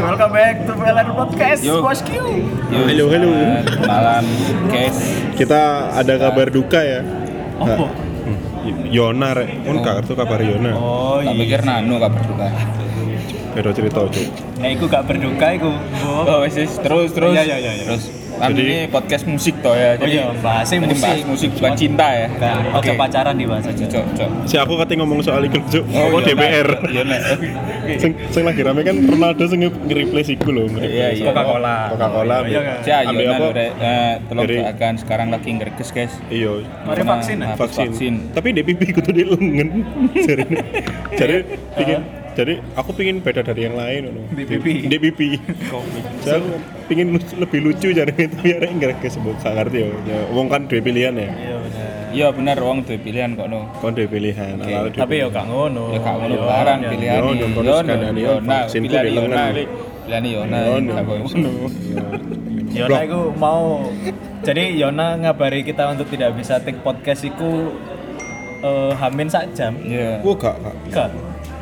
welcome back to PLN Podcast, Yo. Wash Q. Yo, Halo, halo. eh, Kenalan Kes. Kita ada kabar duka ya. Oh, Yonar, unka tuh kabar Yonar. oh Tak iya. pikir Nano kabar duka. Beda cerita cuk. Nah, aku gak berduka, aku. Oh, Oh, wes wes. terus terus. Iya, iya, iya, iya. Terus kan Jadi- ini podcast musik toh ya. oh iya, bahasnya jadi bahas musik. musik bukan cinta ya. Bukan, ojo pacaran nih bahasa aja. Cok, cok. Si aku kate ngomong soal iku cuk. Oh, Oh, iya, DPR. Nah. Iya, nah. Oke, oke. Sing, sing lagi rame kan Ronaldo sing nge-replace iku lho. Iya, iya. Coca-Cola. Coca-Cola. Iya, ambil- kan? Ya, Ambil Yonan apa? udah eh, tolong Dari- doakan sekarang lagi ngerkes, guys. Iya. Mari Karena vaksin, ah. habis Vaksin. Vaksin. Tapi DPP kudu di lengan jarine. Jadi pingin jadi aku pingin beda dari yang lain ngono. DPP. DPP. Saya pingin lu- lebih lucu jadi tapi arek nggak sebut gak ngerti ya. Ya, Wong kan dua pilihan ya. Iya, bener. Iya benar wong duwe pilihan kok no. Kon dua pilihan. ala-ala dua Tapi pilihan. yo gak ngono. Ya gak ngono Yo, barang yo. pilihan. Yo, Yo nonton sekalian, yo, vaksin ku pilihan di yo lengan. Pilihan yo nah. Yo, gak no. ngono. Iya. Yona aku nah, mau jadi Yona ngabari kita untuk tidak bisa take podcast iku eh, hamin sak jam Iya. Gua gak, gak. Gak,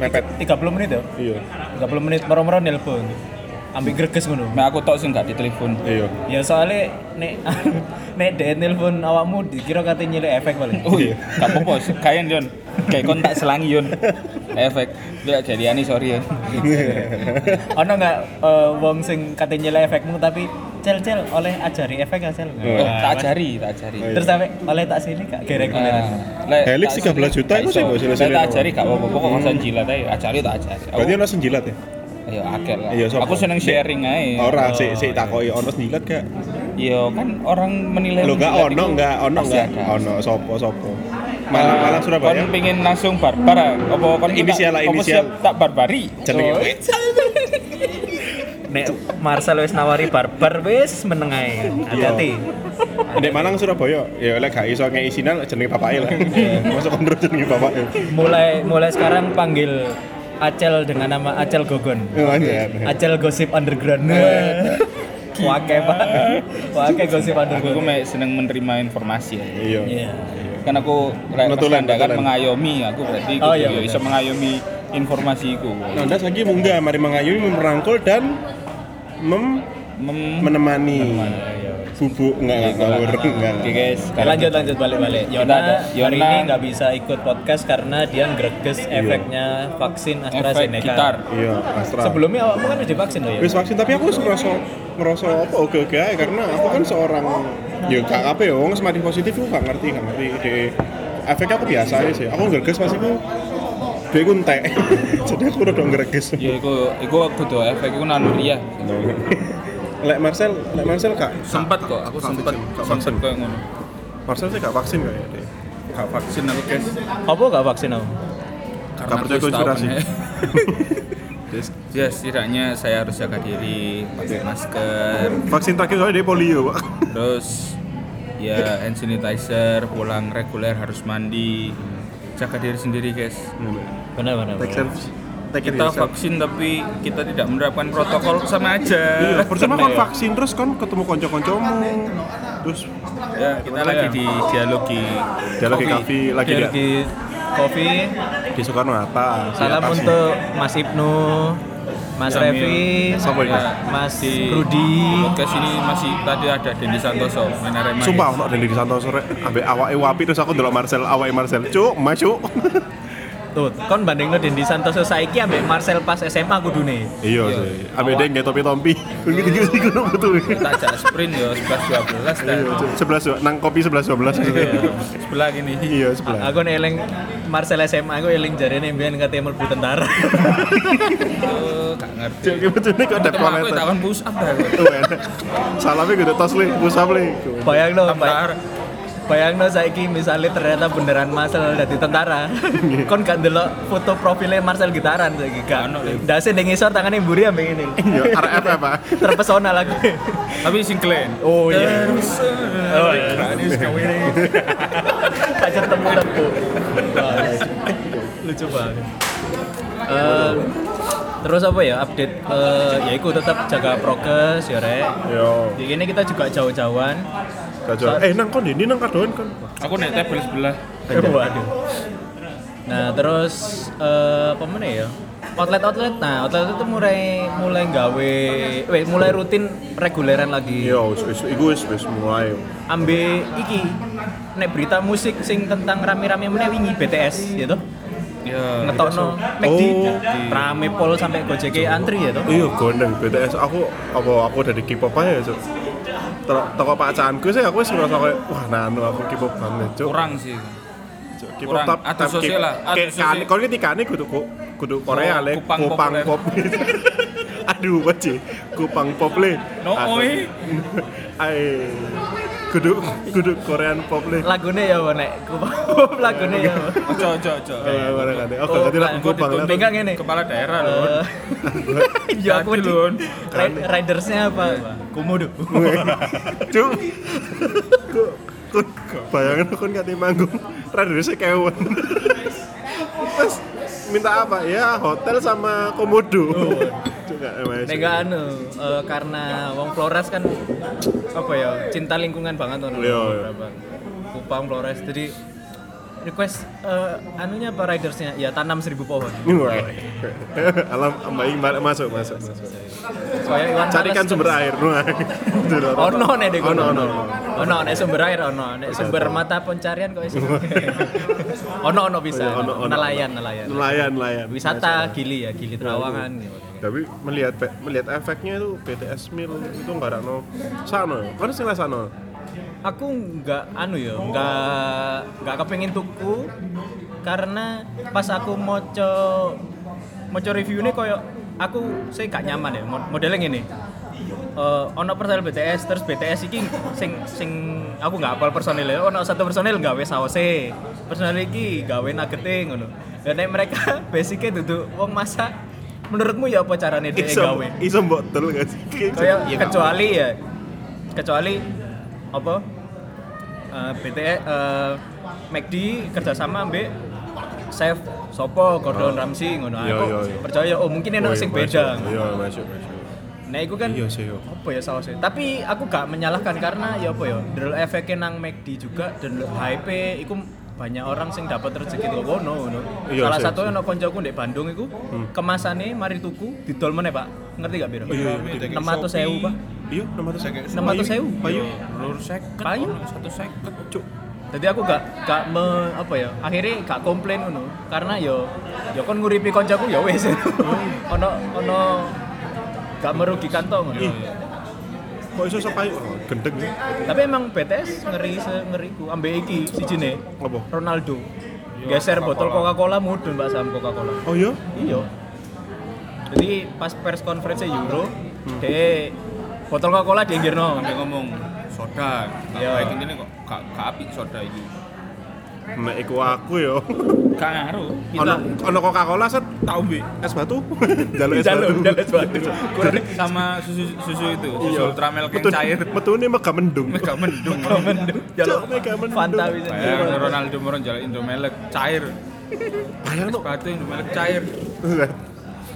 Mepet. 30 menit ya Iya. 30 menit moro-moro nelpon ambil greges ngono Nah, aku tok sing gak ditelepon. Iya. ya soalnya nek nek dek nelpon awakmu dikira kate nyilek efek paling Oh iya, gak apa-apa, kayan Yon. Kayak kon tak selangi Yon. Efek. Bila jadi ani sorry ya. ono nggak eh, wong sing kate nyilek efekmu tapi cel cel oleh ajari efek ya cel Oh, Nah, tak ajari, tak ajari. terus sampe oleh tak sini gak gerek Nah, beneran. lek- Helix tak 13 juta gak iku sih, iso. kok, Lek silih-silih tak doang. ajari gak apa-apa, kok ngosan jilat ae. Ajari tak ajari. Aku- Berarti ono sing jilat ya? Ayo akeh lah. Iya, sopo? Aku seneng sharing aja. Ora sik sik takoki ono sing jilat gak? Iya kan orang menilai. Lho gak menilai ono itu gak ono pasti gak? ada. Ah, Ono sapa-sapa. Malang-malang Surabaya. Kon pingin langsung barbar ah? apa kon Inisial lah, apa inisial. siap tak barbari. Jenenge Oh. wet. nek Marcel wis nawari barbar wis meneng ae Iya. hati-hati Ndek Malang Surabaya. Ya lek gak iso ngei isinan jenenge bapake lah. Masuk kon terus jenenge e. bapake. mulai mulai sekarang panggil Acel dengan nama Acel Gogon Ya, Anjir. Acel Gosip Underground Iya. Wake pak Wake Gosip Aku ku Underground mek seneng menerima informasi ya. Iya. Iya Kan aku lek Notulen, Anda kan notulen. mengayomi aku berarti Oh, oh, iya, iya, bener. iso mengayomi informasiku. Nanda Nah, lagi munggah mari mengayomi merangkul dan mem Mem Hmm? menemani bubuk enggak enggak ngawur enggak. Oke guys, Oke, sekarang lanjut lanjut balik balik. Kita Yona, ada- hari Yona- Iya. ini nggak bisa ikut podcast karena dia ngreges efeknya vaksin efek AstraZeneca. gitar. Iya, Astra. Sebelumnya awakmu kan udah divaksin loh ya. wis vaksin tapi aku ngerasa ngerasa apa oke oke aja karena aku kan seorang ya gak apa ya wong semati positif aku gak ngerti gak ngerti de efeknya aku biasa aja sih aku ngerges pas aku dia aku entek jadi aku udah ngerges Ya iku iku kudu efek iku naluri ya. lek Marcel lek Marcel kak Sempat kok, aku sempat Vaksin. sempat kayak ngono. Marcel sih gak vaksin kayaknya deh gak vaksin Vaksin aku guys. Apa nggak vaksin aku? Karena percaya aku tahu konspirasi. kan, ya. Ya setidaknya saya harus jaga diri, pakai masker, vaksin terakhir soalnya dia polio pak terus ya hand sanitizer, pulang reguler harus mandi, jaga diri sendiri guys. Benar benar. benar. take Iya, Kita ya? vaksin tapi kita tidak menerapkan protokol sama Iya, aja. percuma kan vaksin terus kan ketemu konco-koncomu terus Ya, kita lagi di dialogi. Dialogi Kopi. Iya, kafe lagi Dia di, lagi kopi. Ya, di Soekarno Hatta Iya, Salam untuk Mas Ibnu, Mas Jamil. Revi, Siapa ini? Mas Di Rudi. Podcast ini masih tadi ada Dendi Santoso, Menara Manis. Sumpah ono Dendi Santoso rek ambek awake wapi terus aku ndelok Marcel awake Marcel. Cuk, macu. Tuh, kon bandingno Dendi Santoso saiki ambek Marcel pas SMA kudune. Iya sih. Ambek dek nggak topi-topi. Begitu sih kudu betul. Kita ajak sprint ya 11 12 dan eh, Iya, Cuk. 11 dua- nang kopi 11 12. sebelah gini. Iya, sebelah. Aku nih eling Marcel SMA aku eling jarene mbiyen kate mlebu tentara. Eh, Gak ngerti. Cuk, betul nih kok ada Temen aku planet. takon push up dah. ya. Tuh, enak. Salamnya gue tos le, pusap le. Bayangno, bay- Tamtar. bayangno saiki misalnya ternyata beneran Marcel dadi tentara. Kon gak ndelok foto profilnya Marcel gitaran saiki gak. Ano, Lim. Dase ning ngisor tangane mburi ambek ngene. Iya, RF apa? Terpesona lagu. Tapi sing klen. Oh iya. Oh iya. Pacar temu temu. Lucu banget. Eh, terus apa ya update eh ya iku tetap jaga prokes ya rek. Yo. Di ini kita juga jauh-jauhan. kacau. Eh, nang kon ini nang kadoan kon. Aku naik table sebelah. Waduh. Nah, terus eh apa meneh ya? outlet outlet nah outlet itu mulai mulai gawe weh mulai rutin reguleran lagi Iya, wis wis iku wis wis mulai. ambe iki nek berita musik sing tentang rame-rame meneh wingi BTS ya toh Ya. ngetokno McD Ah, Oh. rame pol sampai Gojek antri ya toh Iya, gondeng BTS aku apa aku dari K-pop aja, Cuk. Tok toko pacaranku sih aku wis ngerasa kayak wah nano aku K-pop banget, Cuk. kurang sih Cuk, kurang. tap- Atus tap sosial K- lah, atus kayak sosial. kan- Kalau ini tikane kudu ku- kudu Korea Oh, le, kupang kupang populer. pop. Aduh, wajib kupang pop le. No, Aku- oi. Ai. Kudu kudu Korean pop le. lagune ya apa, nek lagune ya Oh, apa? ojo ojo ojo Oke, Oh, ganti lagu aku kupang lah. dituntut. Enggak, ngene. kepala daerah loh Eh, ya aku Tadi, di Lun. Ri- ridersnya apa komodo Cuk. Kok- Kok bayangin aku kan di manggung. Radarnya kewan. Terus minta apa? Ya hotel sama komodo. Cuk, nggak, emang Nek sih. nggak anu eh, karena Wong Flores kan apa ya cinta lingkungan banget orang Iya, iya. Kupang Flores jadi request eh, anunya apa ridersnya ya tanam seribu pohon Wah. Alam Mbak Ing, mari- masuk masuk masuk. supaya Iwan Carikan Fals- sumber air. Oh, Wah. Jujur, orang. ono nek dek Ono, ono, ono. ono nek sumber air ono nek sumber mata pencarian kok iso ono ono bisa Iya, ono, ono, ono. nelayan nelayan Nelayan Iya, nelayan. wisata gili ya gili terawangan gitu. tapi melihat pe- melihat efeknya itu BTS mil itu nggak ada no sano ya kan sih lah sano aku nggak anu ya nggak nggak kepengen tuku karena pas aku moco moco review ini koyo aku saya gak nyaman ya Mod- modelnya gini Eh, ono personil BTS terus BTS iki sing sing aku nggak apal personilnya ono satu personil gawe saose personil iki gawe nugete ngono dan nek mereka basicnya duduk wong masak menurutmu ya apa carane dia iso gawe iso mbok tel Iya, nggak sih Kayak kecuali ya kecuali apa Eh BTS eh, McD kerjasama ambek Chef Sopo Gordon Ramsay ngono Nah, Iya, aku iya, iya. percaya oh mungkin enak sing beda iya masuk masuk nah itu kan iya sih yo apa ya sausnya tapi aku gak menyalahkan karena ya apa ya drill efeknya nang McD juga dan hype itu banyak orang sing dapat rezeki toko kono ngono. Iya, salah sih, Hmm. satunya ono koncoku di Bandung itu kemasannya mari tuku didol meneh Pak ngerti gak biro iya, iya. 600.000 Pak iya nomor tuh saya 600.000. payu lur seket Payu. ono satu seket cuk Jadi aku gak gak me, apa ya? Akhirnya gak komplain ngono. Karena yo yo kon nguripi koncoku ya wis. Hmm. ono ono gak merugikan to ngono. Iya. kok iso sepayu oh, gendeng ya Tapi emang BTS ngeri se ngeriku ambe iki sijine apa Ronaldo. Iya, Geser botol Coca-Cola mudun Pak Sam Coca-Cola. oh iya Iya. Jadi pas press conference Euro, Hmm. de botol Coca-Cola dienggirno. dia ngomong soda Gak Iya. baik ini kok gak gak apik soda ini nah iku aku yo gak ngaruh ono Kita ono coca cola set tau bi es batu jalur es jalur batu Iya. jalur suatu. kurang sama susu susu itu susu ultramel yang Metune- cair metune mega mendung mega mendung Mendung. Iya. Jalur mega mendung. Fanta bisa. Bayangin Ronaldo meron jalan Indomelek cair bayang no sepatu Indomelek cair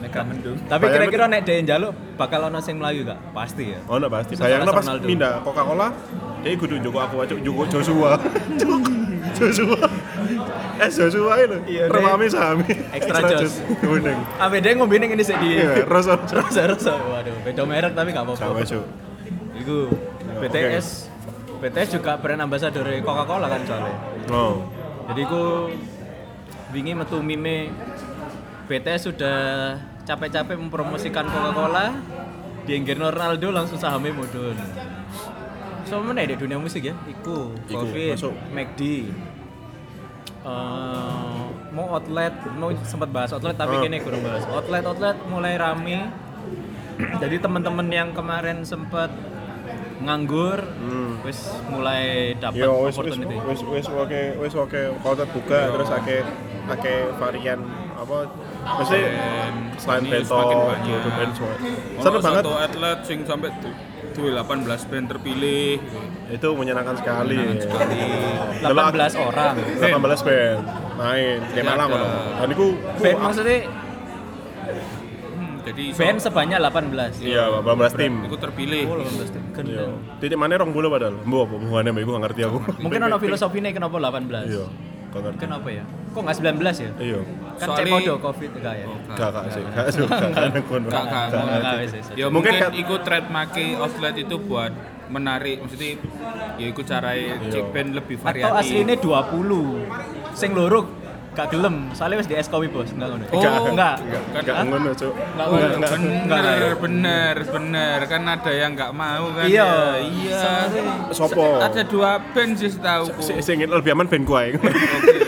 mega mendung Tapi Bayangin- kira-kira nek dia njaluk bakal ono sing mlayu gak? Pasti ya. Oh, no, pasti. Salah Bayangno pas Ronaldo. pindah Coca-Cola, dia kudu njogo aku aja, njogo Joshua. Cuk, Joshua. Eh, Joshua itu. Iya, Dek. Remami sami. Extra Josh. Kuning. Ambe dia Ah, ngombe ning ngene sik di. Iya, Rosa. Rasa rasa. Waduh, beda merek tapi gak apa-apa. Sama, Cuk. Iku BTS BTS juga brand ambassador Coca-Cola kan soalnya. Oh. Jadi ku wingi metu mime BTS sudah capek-capek mempromosikan Coca-Cola di Ronaldo langsung sahamnya mudun. So mana di dunia musik ya? Iku, Iku, Covid, masuk. McD. Eh, mau outlet, mau sempat bahas outlet tapi Ah. kini kurang bahas. Outlet outlet mulai rame. Jadi teman-teman yang kemarin sempat nganggur, wis mulai dapat Hmm. Yo, wis wis opportunity. wis wis oke, wis oke. Kalau terbuka terus ake ake varian apa? Mesti selain ini bento, semakin banyak. gitu, band semua. Ono Seneng banget. satu atlet sing sampai du- duwe 18 band terpilih Itu menyenangkan sekali. sekali. 18 orang. 18 band main tiap malam Ada. ono. Dan iku Band maksudnya Hmm, jadi iso- band sebanyak 18. iya 18 tim. iku terpilih Gitu. Oh, 18 tim. Iya. Gendeng. Titik mana rong bola padahal. Mbok apa hubungannya mbak iku gak ngerti aku. Mungkin ono filosofinya kenapa Iya, 18. gak ngerti. Kenapa ya? kok nggak 19 ya? Iya. Kan cek Soalnya- Oh, podo covid enggak ya? Gak kak sih, gak sih, gak anak kono. Gak, gak, Gak, gak, gak, gak. wes, wes. Ya Mungkin mungkin, kan- ikut trademark e outlet itu buat menarik maksudnya ya ikut cara cek band lebih variatif. Atau aslinya 20. Sing loro gak gelem, soalnya wis di SKW bos, enggak ngono. Oh, enggak. Gak, gak ngono cuk. Lah, Enggak, bener, enggak. bener, Enggak. bener, bener. Kan ada yang nggak mau kan? Iya. ya. iya. Sopo? Ada dua band sih tahu. Si- Sing lebih aman ben kuai. Oke, oke.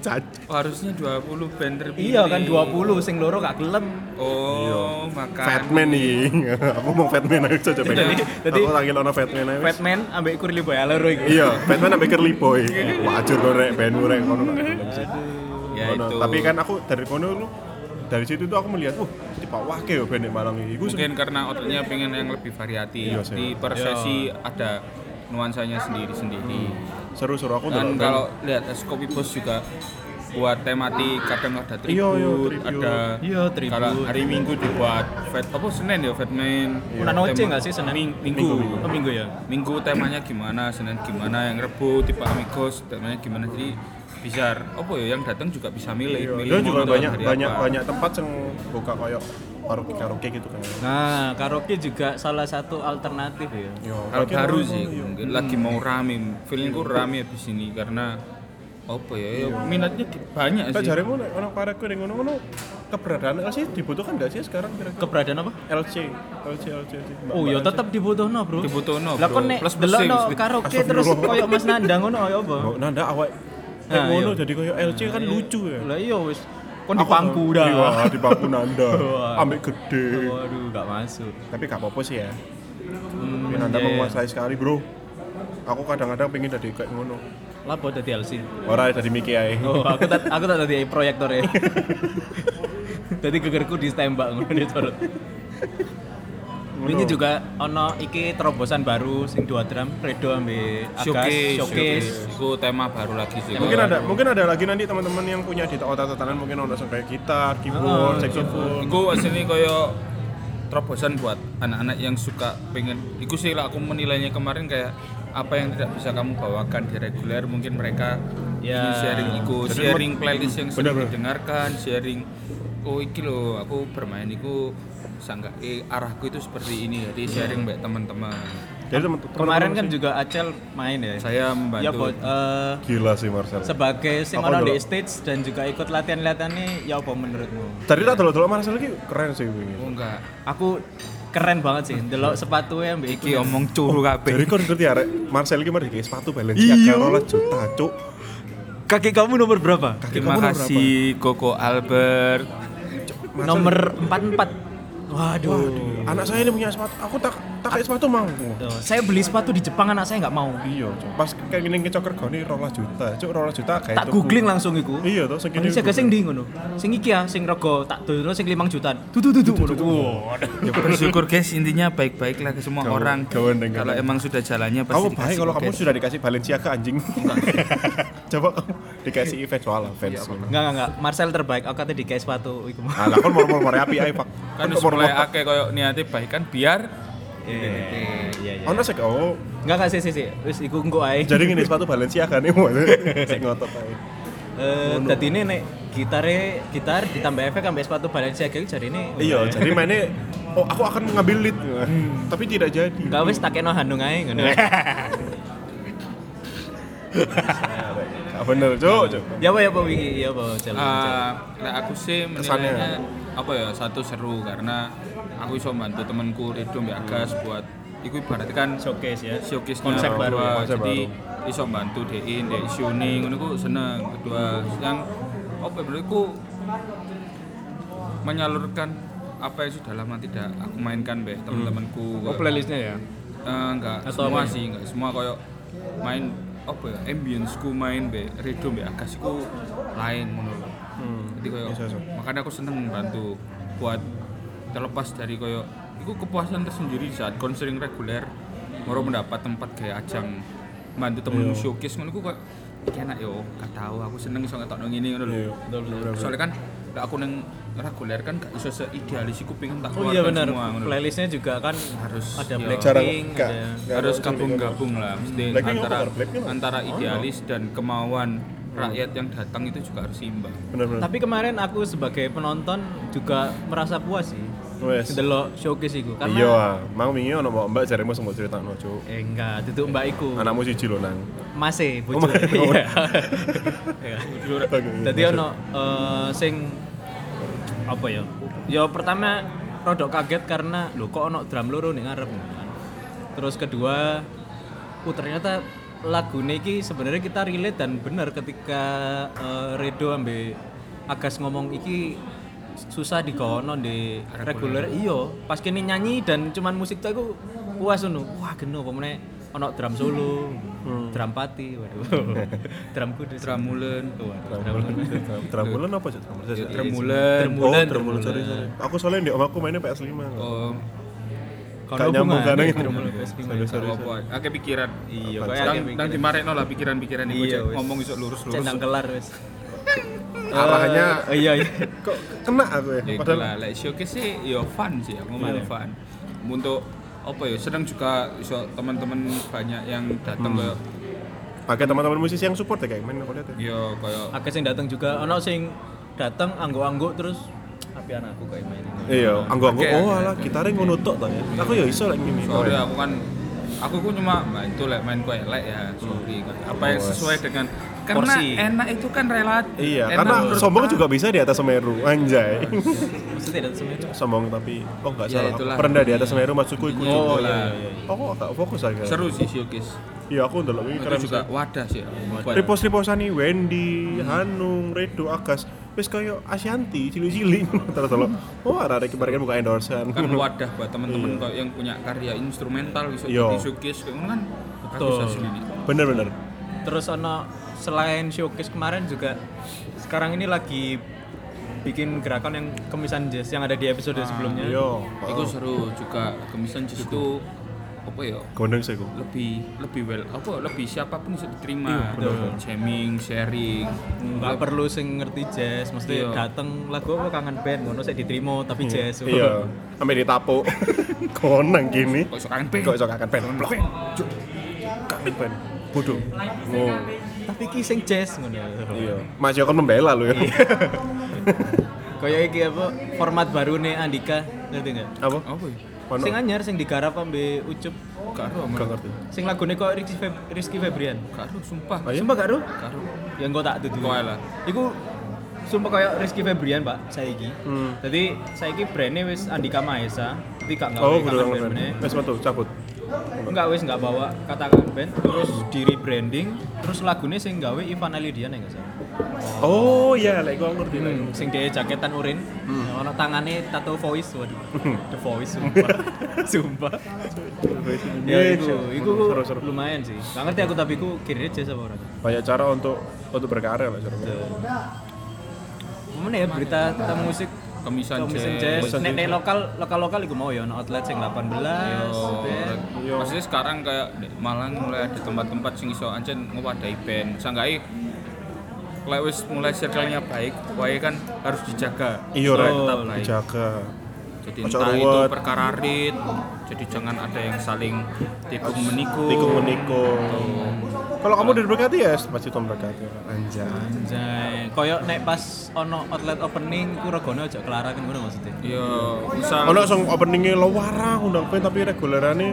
Cac. Oh, harusnya 20 band terpilih. Iya kan 20 sing loro gak gelem. Iya. Oh, maka Fatman nih. Aku mau Fatman aja coba. Jadi- jadi- Aku lagi ono Fatman aja. wes. Batman ambek Curly Boy Alero iku. Iya, Fatman sampai Curly Boy. Iya. Wajur kau rek, ben rek kono. ya Kono. itu. Tapi kan aku dari kono lu dari situ tuh aku melihat, wah, tipe wake yo band Malang ini. Iku mungkin karena outletnya pengen yang lebih variatif. Iya, sih. Di per sesi ada nuansanya sendiri-sendiri. Hmm. seru-seru aku Dan ndelok kan. band. kan kalau lihat es kopi bos juga buat tematik kadang ada tribute, Iya, iya, tribute. ada Iya, tribute. kalau hari Minggu dibuat Fat apa Senin ya Fatman. Iya. Pernah noce nggak sih Senin? Ming- Minggu, Minggu. minggu. Oh, minggu ya. Minggu temanya gimana, Senin gimana, yang Rebo tipe Amigos temanya gimana. Jadi bisa apa ya yang datang juga bisa milih, milih Iya, mau juga nonton banyak hari banyak apa. banyak tempat yang buka kayak karaoke karaoke gitu kan. Nah, karaoke juga salah satu alternatif ya. Yo, Hal karaoke baru ono, sih Iya yo. mungkin lagi mau rame, feelingku rame abis ini karena apa ya, ya minatnya di- banyak Kita sih. cari mau orang pareku yang ngono-ngono keberadaan LC dibutuhkan nggak sih sekarang kira-kira? Keberadaan apa? LC, LC, LC. Mbak- Oh iya Mbak tetap dibutuhno, Bro. Dibutuhno, Lah Bro. kon nek Plus delok mesin, no mesin. karaoke terus koyo Mas Nandang ngono ya apa? LC. Oh, nanda awak Nah, nah, ngono iya. jadi kayak LC kan lucu ya. Lah iya wis kon Aku dipangku tau. Iya, dah. dipangku nanda. Wah. Ambek gede. Waduh, gak masuk. Tapi gak apa-apa sih ya. Hmm, Tapi nanda iya, iya. menguasai sekali, Bro. Aku kadang-kadang pengen jadi kayak ngono. Lapo dadi LC. Orang dari Miki ae. Oh, aku tak aku tak dadi proyektor ya. Dadi gegerku ditembak ngono nih, Corot. Ini juga ono iki terobosan baru sing dua drum Redo ambil Agas showcase, showcase. showcase. Itu tema baru lagi sih. mungkin Kalau- ada mungkin ada lagi nanti teman-teman yang punya di otak-otakan mungkin ada yang kayak gitar, Oh, keyboard, iya. saxophone. Iku aslinya koyo terobosan buat anak-anak yang suka pengen. Iku sih lah aku menilainya kemarin kayak apa yang tidak bisa kamu bawakan di reguler mungkin mereka Ya. ingin sharing iku, Jadi sharing playlist yang sering bener-bener. didengarkan, sharing oh iki loh aku bermain iku sangga eh, arahku itu seperti ini jadi sharing mbak teman-teman Jadi teman Kemarin kan juga Acel main ya. saya Ya, Bo, membantu eh, gila sih Marcel. sebagai sing Apa ono di dulu? stage dan juga ikut latihan-latihan nih, ya apa menurutmu? Tadi tak dulu-dulu Marcel lagi keren sih wingi. oh enggak Aku keren banget sih, ndelok sepatunya ya. ambek iki iki. omong curu kabeh Jadi kau ngerti arek Marcel lagi mari kayak sepatu Balenciaga rola juta cuk. Kaki kamu nomor berapa? Kaki terima kamu nomor kasih Koko Albert Marcel- Nomor 44. Waduh. berapa? Anak saya ini punya sepatu. Aku tak tak kayak sepatu mang. Tuh, saya beli sepatu di Jepang anak saya nggak mau. Iya, cuk. Pas kayak gini ngecoker goni rola juta. Cuk rola juta kayak Tak googling langsung iku. Iya toh segini. Manusia gak sing ndi ngono. Sing iki ya sing rego tak dono sing 5 jutaan. Dudu dudu ngono. ya bersyukur guys intinya baik-baiklah ke semua Gawe- orang gawe neng- kalau gawe. emang sudah jalannya pasti Kamu baik dikasih kalau kamu guys. sudah dikasih Balenciaga anjing. Coba kamu dikasih event soal fans. Enggak enggak enggak. Marcel terbaik. Aku tadi kayak sepatu iku. Nah, lah, kan mor-mor api ae, Pak. kan Kan wis mulai akeh koyo niate baik kan biar Eh, iya, Ono sik oh. Enggak enggak sih sih sih. Wis iku engko ae. Jadi ngene sepatu Balenciaga nih mau sik ngotot ae. Eh dadi ini nek gitare gitar ditambah efek ambek sepatu Balenciaga iki jarine. Eh, Iya, jadi mainnya oh aku akan mengambil lead. Tapi tidak jadi. Enggak wis tak kena handung ae ngono. Gak bener, Cuk. Cuk. Ya apa ya apa iki ya apa Cel. Ah. eh nah aku sih Kesannya. menilainya apa ya satu seru karena aku iso bantu temanku Rido Mbak Agas buat iku ibarat kan Showcase ya. showcase Konsep baru ya, konsep jadi iso bantu dein dek isuni ngono ku seneng kedua yang apa ya, iku menyalurkan apa yang sudah lama tidak aku mainkan mbek Hmm. teman-temanku Oh playlistnya ya. Eh, enggak Atau apa semua ya? sih enggak semua koyo main apa ya ambience ku main be Rido be Agas ku lain menurut Hmm. jadi koyo Iya, iya. makanya aku seneng bantu buat terlepas dari koyo itu kepuasan tersendiri saat konseling reguler baru mendapat tempat kayak ajang bantu temen Iya. showcase ngono ku koyo "Iki enak yo gak tahu aku seneng iso ngetokno ngene ngono lho Iya. soalnya kan lah aku neng reguler kan gak iso seidealis iku pengen tak Oh iya keluarkan benar. semua ngono lho. Playlistnya juga kan Harus, ada iya. Jarang Blackpink, gak- ada gak harus ada- gabung-gabung lah mesti Blackpink apa Oh, antara kabar? Blackpink apa? antara idealis dan kemauan Hmm. rakyat yang datang itu juga harus imbang bener-bener Tapi kemarin aku sebagai penonton juga merasa puas sih. Wes. Delok showcase iku karena iya ah mang wingi ono mbak mbak jaremu sempat cerita no cuk eh enggak, duduk mbak iku. anakmu siji lho nang Mase Oh, bojo. Mas. Iya. Iya. Dadi Maksud- ono eh, sing apa ya? Ya pertama rodok kaget karena lho kok ono drum loro ning ngarep. Terus kedua, oh ternyata lagune iki sebenarnya kita relate dan bener ketika eh, Redo ambe Agas ngomong iki susah digono di reguler iya pas kene nyanyi dan cuman musik tuh aku puas ngono wah geno apa meneh ono drum solo Hmm. drum pati waduh drum kudus Tramulen Trambulan, trambulan apa cuk? Trambulan. Cuk? Tremulen Oh, trambulan, sorry, sorry. Aku soalnya di om aku mainnya PS5. Kak. oh Gak nyambung kan yang Sorry, sorry, sorry. apa akeh pikiran iya kok Apa? Nang nang dimarekno lah pikiran-pikiran iku Iya, Cek. wes. ngomong iso lurus-lurus cendang kelar wis Arahnya Eh, iya iya kok kena aku ya. Ya itu Padahal Iya. lah, like showcase sih ya fun sih, aku malah fun Untuk apa ya, seneng juga iso teman-teman banyak yang Hmm. datang kayak pakai teman-teman musisi yang support ya kayak main aku lihat ya. ya kayak akeh sing datang juga ono sing datang angguk-angguk terus tapi anakku kayak main ini." Iya, anggo-anggo Oke, oh oke, alah gitarnya ngono tok ta ya. Aku ya iso lek ngene. sorry aku kan aku ku cuma "Nah, itu lek main kue elek ya, sorry Hmm. apa yang sesuai dengan karena Porsi. enak itu kan relatif Iya, enak karena menurut sombong kita. juga bisa di atas Semeru, anjay. maksudnya datang semua itu sombong tapi oh enggak Ya, salah. Aku itulah. Perendah di atas Semeru maksudku iku. Intinya Oh itulah. Oh, kok gak fokus aja. seru sih showcase Iya, aku ndelok iki itu keren. juga Hmm. wadah sih Ripos-riposani Wendy, Hanung, Redo, Agas wis koyo Asyanti, cilik-cilik terus delok. Oh, arek kemarin kan buka endorsean. kan wadah buat teman-teman kayak yang punya karya instrumental bisa Iya. di showcase kayak ngono kan Betul. bagus asli ini Bener-bener. terus ono selain showcase kemarin juga sekarang ini lagi bikin gerakan yang kemisan jazz yang ada di episode sebelumnya Iya. Ya. Iku seru juga kemisan jus itu apa ya? Gondeng sih aku. lebih lebih well apa lebih siapapun bisa diterima Iya, jamming sharing nggak perlu sing ngerti jazz mesti Iya. dateng lagu apa kangen band ngono sik diterima tapi jazz Iya, sampe ditapuk. Konang gini. kok suka ping Kok iso akan pen. Blok. Juk. Kangen pen. Bodoh. Oh, tapi ki sing jazz ngono iya. Mas Yoko membela lu ya. Iya. Kayak iki apa format baru nih Andika ngerti nggak Apa? apa ya Ono? sing anyar sing digarap ambe ucup gak ero Gak ngerti. sing lagune kok Rizky, Feb- Rizky Febrian gak ero sumpah Ayo. sumpah gak Ruh? gak ero ya engko tak dudu Kowe lah. iku sumpah kayak Rizky Febrian pak saiki Hmm. jadi saiki brandnya wis Andika Mahesa tapi gak ngawe Oh, bodoh kangen kangen bandnya. pen. Wes metu cabut. enggak wis enggak bawa kata kangen band terus di rebranding terus lagunya sing gawe Ivan ya, Alidiana enggak salah Oh, iya, lek gua ngerti. lek. Hmm, sing dia jaketan urin hmm. ono tangane tato voice waduh the voice sumpah sumpah Hmm. ya itu itu Seru-seru. lumayan sih gak ngerti aku tapi ku kira aja sama orang banyak cara untuk untuk berkarya lah cara mana ya berita tentang musik kemisan Komisen jazz Jazz, nek nek lokal lokal lokal iku mau ya ono outlet sing 18 band. Yo. Maksudnya sekarang kayak di Malang mulai ada tempat-tempat sing iso ancen ngewadahi band. Sangkai lek wis mulai circle-nya baik, wae kan harus dijaga. iya Supaya rek tetap baik. dijaga Jadi Ojo entah itu ruwet. perkara rit, jadi jangan ada yang saling tikung menikung. tikung menikung kalau kamu udah berkati ya pasti tuh berkati anjay Anjay, koyo nek pas ono outlet opening ku regane aja kelarakan ngono maksudnya. Yo, misal kalau langsung openingnya lawara undang pen tapi regulerannya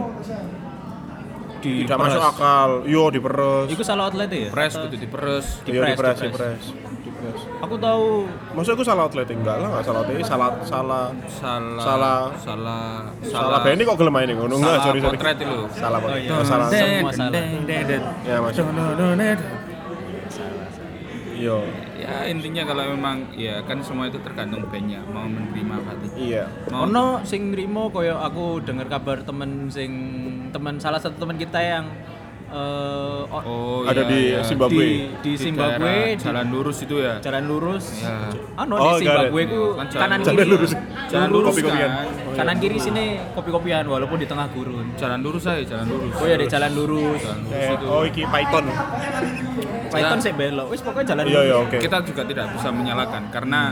Di tidak masuk akal yo diperes Iku salah outlet e ya? press kudu diperes. Di yo press, diperes di press. diperes diperes Aku tahu maksudnya aku salah outlet enggak lah nggak salah outlet salah salah Salah Salah. salah salah band ini kok gelem main ngono enggak salah sorry sorry potret itu. salah Oh, potret iya. Oh, salah Deng, Semua salah. deng, deng, deng. ya masuk yo Ya intinya kalau memang ya kan semua itu tergantung bandnya mau menerima hati. iya Mau ono sing nrimo koyo aku dengar kabar temen sing temen salah satu temen kita yang eh, o- Oh, ada iya, di iya. di Zimbabwe di Zimbabwe daerah di jalan lurus itu ya. jalan lurus. Ya. Anu Oh, di Zimbabwe got it. ku Kan jalan- kanan jalan kiri. lurus. Jalan lurus Kopi-kopian. kan. Kanan kiri sini kopi-kopian walaupun di tengah gurun. Jalan lurus aja, jalan lurus. Oh ya di jalan lurus. Jalan lurus Eh, itu. oh iki Python Python sik belok. Wis pokoknya jalan Iya iya lurus. oke. Kita juga tidak bisa menyalahkan karena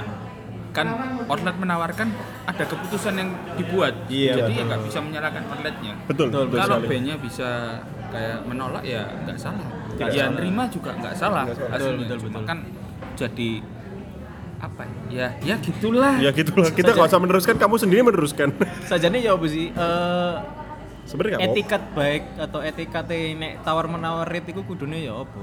kan outlet menawarkan ada keputusan yang dibuat. Iya, Jadi ya nggak bisa menyalahkan outletnya. Betul, betul, Kalau sekali. bandnya bisa kayak menolak ya nggak salah. Nggak ya salah. nerima juga nggak salah Nggak salah. aslinya Betul, betul, cuma betul. kan jadi apa ya ya gitulah ya gitulah kita nggak usah meneruskan kamu sendiri meneruskan sajane ya apa sih eh, sebenarnya nggak Ya apa etiket baik atau etiket nek tawar menawar rate iku kudune ya apa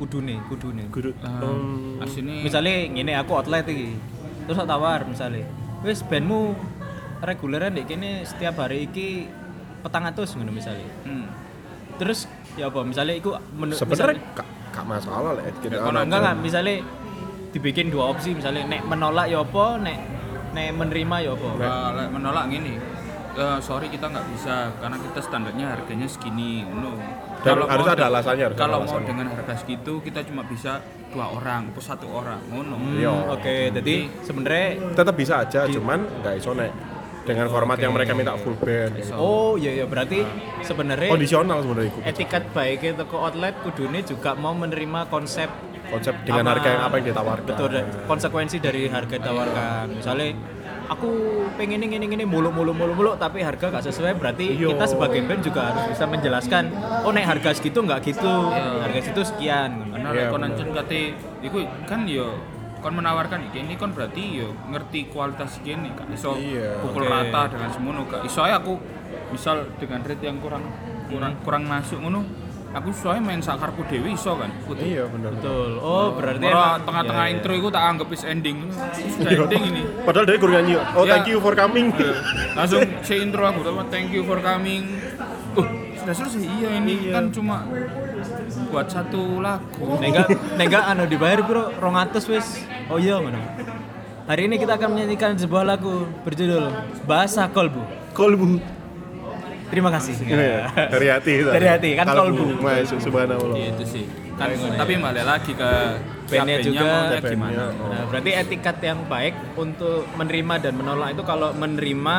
kudune kudune guru Hmm, aslinya misalnya ngene aku outlet iki terus tak tawar misalnya wis bandmu reguleran dek kene setiap hari iki petang atus ngono misalnya hmm, terus ya apa misalnya iku menurut sebenarnya nggak nggak masalah lah kita misalnya, enggak enggak misalnya dibikin dua opsi misalnya nek menolak ya apa nek nek menerima ya apa eh, lek menolak gini eh, sorry kita nggak bisa karena kita standarnya harganya segini no Dan harus ada alasannya, harus ada kalau mau alasannya. dengan harga segitu kita cuma bisa dua orang atau satu orang ngono Hmm, Yo. oke jadi sebenarnya tetap bisa aja cuman nggak iso nek dengan format yang mereka minta full band Iso. oh iya iya berarti sebenarnya kondisional sebenarnya itu etiket baiknya toko outlet kudune juga mau menerima konsep konsep dengan sama- harga yang apa yang ditawarkan betul dan konsekuensi dari harga yang ditawarkan misalnya aku pengen ini ini ini muluk muluk muluk muluk tapi harga gak sesuai berarti Iya. kita sebagai band juga harus bisa menjelaskan oh naik harga segitu nggak gitu harga segitu sekian karena Iya, lek kon bener. ancen kate iku kan yo kon menawarkan iki ini kon berarti yo ngerti kualitas iki ini gak iso Iya. pukul Oke. rata dengan semono gak iso ae aku misal dengan rate yang kurang kurang Hmm. kurang masuk ngono aku soalnya main sakarku dewi iso kan kudu iya benar betul oh berarti Ora emang- tengah-tengah Iya, iya. intro iku tak anggap is ending. Sudah ending ini. padahal dari guru nyanyi oh Iya. Ya. thank you for coming Langsung si intro aku sama thank you for coming. Uh, sudah selesai. Iya ini kan cuma buat satu lagu. Nek gak- nek gak anu dibayar bro 200 wis. Oh iya ngono. Hari ini kita akan menyanyikan sebuah lagu berjudul Bahasa Kolbu. kolbu Terima kasih. Iya, dari hati Dari hati, kan kolbu. Mas, subhanallah Iya, itu sih kan tapi balik lagi ke Bandnya cabenya juga. maunya Bandnya, gimana oh. Nah, berarti etikat yang baik untuk menerima dan menolak itu kalau menerima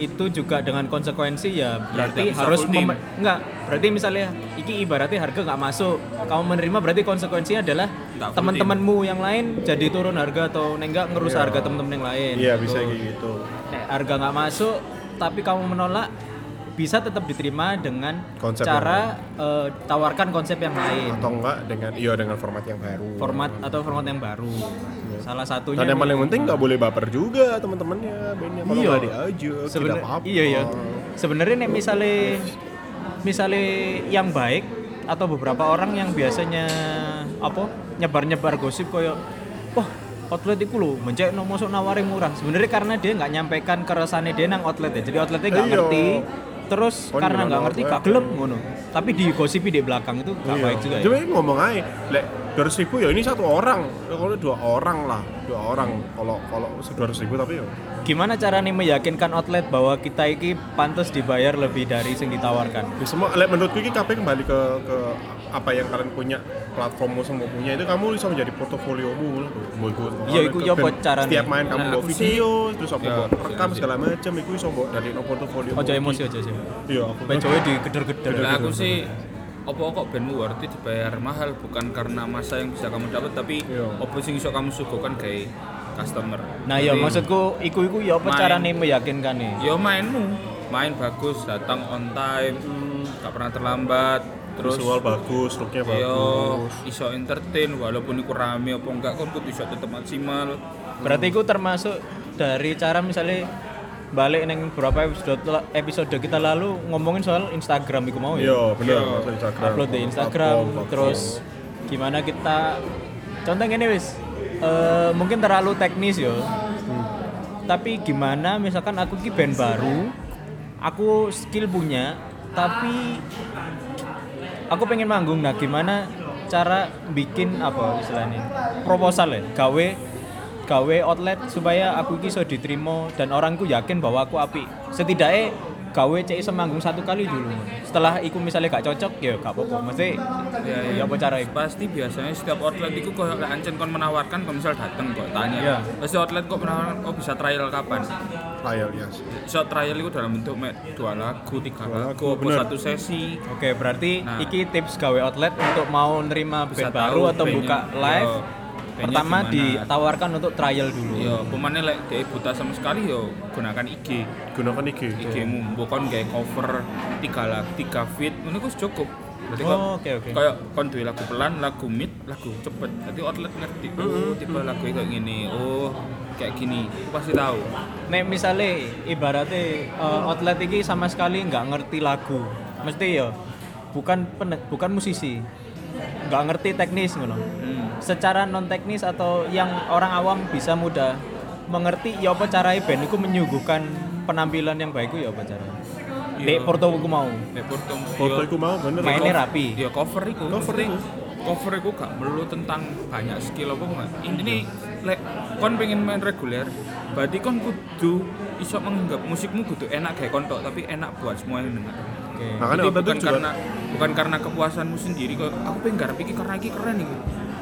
itu juga dengan konsekuensi ya berarti nggak bisa harus full team. mem- nggak berarti misalnya iki ibaratnya harga nggak masuk kamu menerima berarti konsekuensinya adalah Nggak full teman-temanmu yang lain jadi turun harga atau nek nggak ngerusak harga teman-teman yang lain iya bisa kayak gitu Nek harga nggak masuk tapi kamu menolak bisa tetap diterima dengan Konsep cara eh, tawarkan konsep yang lain atau enggak dengan iya dengan format yang baru format atau format yang baru salah satunya Iya. dan yang paling penting nggak boleh baper juga teman-temannya bandnya Iya. kalau nggak diajak tidak sebenar- apa-apa iya iya sebenarnya nek misalnya misalnya yang baik atau beberapa orang yang biasanya apa nyebar-nyebar gosip koyo wah outlet itu loh mencek no mosok nawari murah sebenarnya karena dia nggak nyampaikan keresahannya dia nang outlet ya jadi outletnya nggak Iya. ngerti terus Oh, karena iya, nggak ngerti outlet. gak gelem ngono tapi digosipi di belakang itu nggak baik juga ya Cuma ini ngomong aja, lek 200 ribu ya ini satu orang, Ya, kalau dua orang lah, dua orang. Kalau kalau 200 ribu tapi ya gimana cara nih meyakinkan outlet bahwa kita iki pantas dibayar lebih dari yang ditawarkan Ya semua, like, menurutku ini KP kembali ke, ke apa yang kalian punya, platformmu semua punya itu kamu bisa menjadi portofoliomu lah. Mau ikut, Iya, iku ya apa caranya? Setiap main kamu Nah, bawa aku sih- video, terus kamu Ya, bawa aku sih, rekam aku sih. segala macam, itu bisa bawa dari no portofolio. ojo emosi aja sih Iya, aku Ben Jowe digeder-geder. Nah, aku sih apa kok bandmu worth it dibayar mahal bukan karena masa yang bisa kamu dapat tapi Iya. apa sing iso kamu suguhkan kayak customer Nah ya Jadi, maksudku iku iku ya apa Main. carane meyakinkan nih? ya mainmu main bagus datang on time gak pernah terlambat terus visual bagus, looknya yo bagus. iso entertain walaupun iku rame apa enggak kon kudu iso tetep maksimal Berarti iku termasuk dari cara misalnya balik neng beberapa episode episode kita lalu ngomongin soal Instagram iku mau ya. Iya, bener. Iya. masuk Instagram. Upload di Instagram Platform, platform. terus gimana kita contoh ini wis eh, mungkin terlalu teknis yo. Tapi gimana misalkan aku ki band baru, aku skill punya tapi aku pengen manggung nah gimana cara bikin apa istilahnya proposal ya gawe gawe outlet supaya aku iki iso diterima dan orangku yakin bahwa aku api setidaknya gawe cek iso manggung satu kali dulu setelah iku misalnya gak cocok ya gak apa-apa mesti Ya, ya, ya. apa cara iku? pasti biasanya setiap outlet itu kok lek ancen kon menawarkan kon misal dateng kok tanya Iya. pasti outlet kok menawarkan kok bisa trial kapan Trial, yes. so trial itu dalam bentuk mek dua lagu tiga lagu Dua lagu, apa bener. satu sesi Oke, berarti Nah. iki tips gawe outlet untuk mau nerima band Bisa tahu baru atau bandnya, buka live. yo, bandnya Pertama gimana. Iya. ditawarkan untuk trial dulu. yo pemane lek dhek buta sama sekali yo gunakan Iya. IG Gunakan IG. Iya. IG mu mbok kon gawe cover tiga lagu tiga feed ngono ku cukup Oh, Jadi kok oke, oke. Kayak kon duwe lagu pelan, lagu mid, lagu cepet. Jadi outlet ngerti. Oh, tipe lagu kayak gini. Oh, kayak gini. Aku pasti tahu. Nek misalnya ibaratnya eh, outlet ini sama sekali nggak ngerti lagu, mesti ya bukan pene- bukan musisi, nggak ngerti teknis ngono. Hmm. Secara non teknis atau yang orang awam bisa mudah mengerti ya apa caranya band itu menyuguhkan penampilan yang baik itu ya apa caranya. Dek Iya. Porto ku mau Nek Porto. Foto yo- iku mau bener. mainnya rapi. Ya cover iku. Cover Maksudnya, Cover iku gak melulu tentang banyak skill apa enggak. Iya. Ini lek kon pengen main reguler, berarti kon kudu iso menganggap musikmu kudu enak kayak kon tok, tapi enak buat semua yang dengar. Oke. Makanya Jadi waktu bukan itu juga kan karena bukan karena kepuasanmu sendiri kok aku pengen garap iki karena iki keren iki.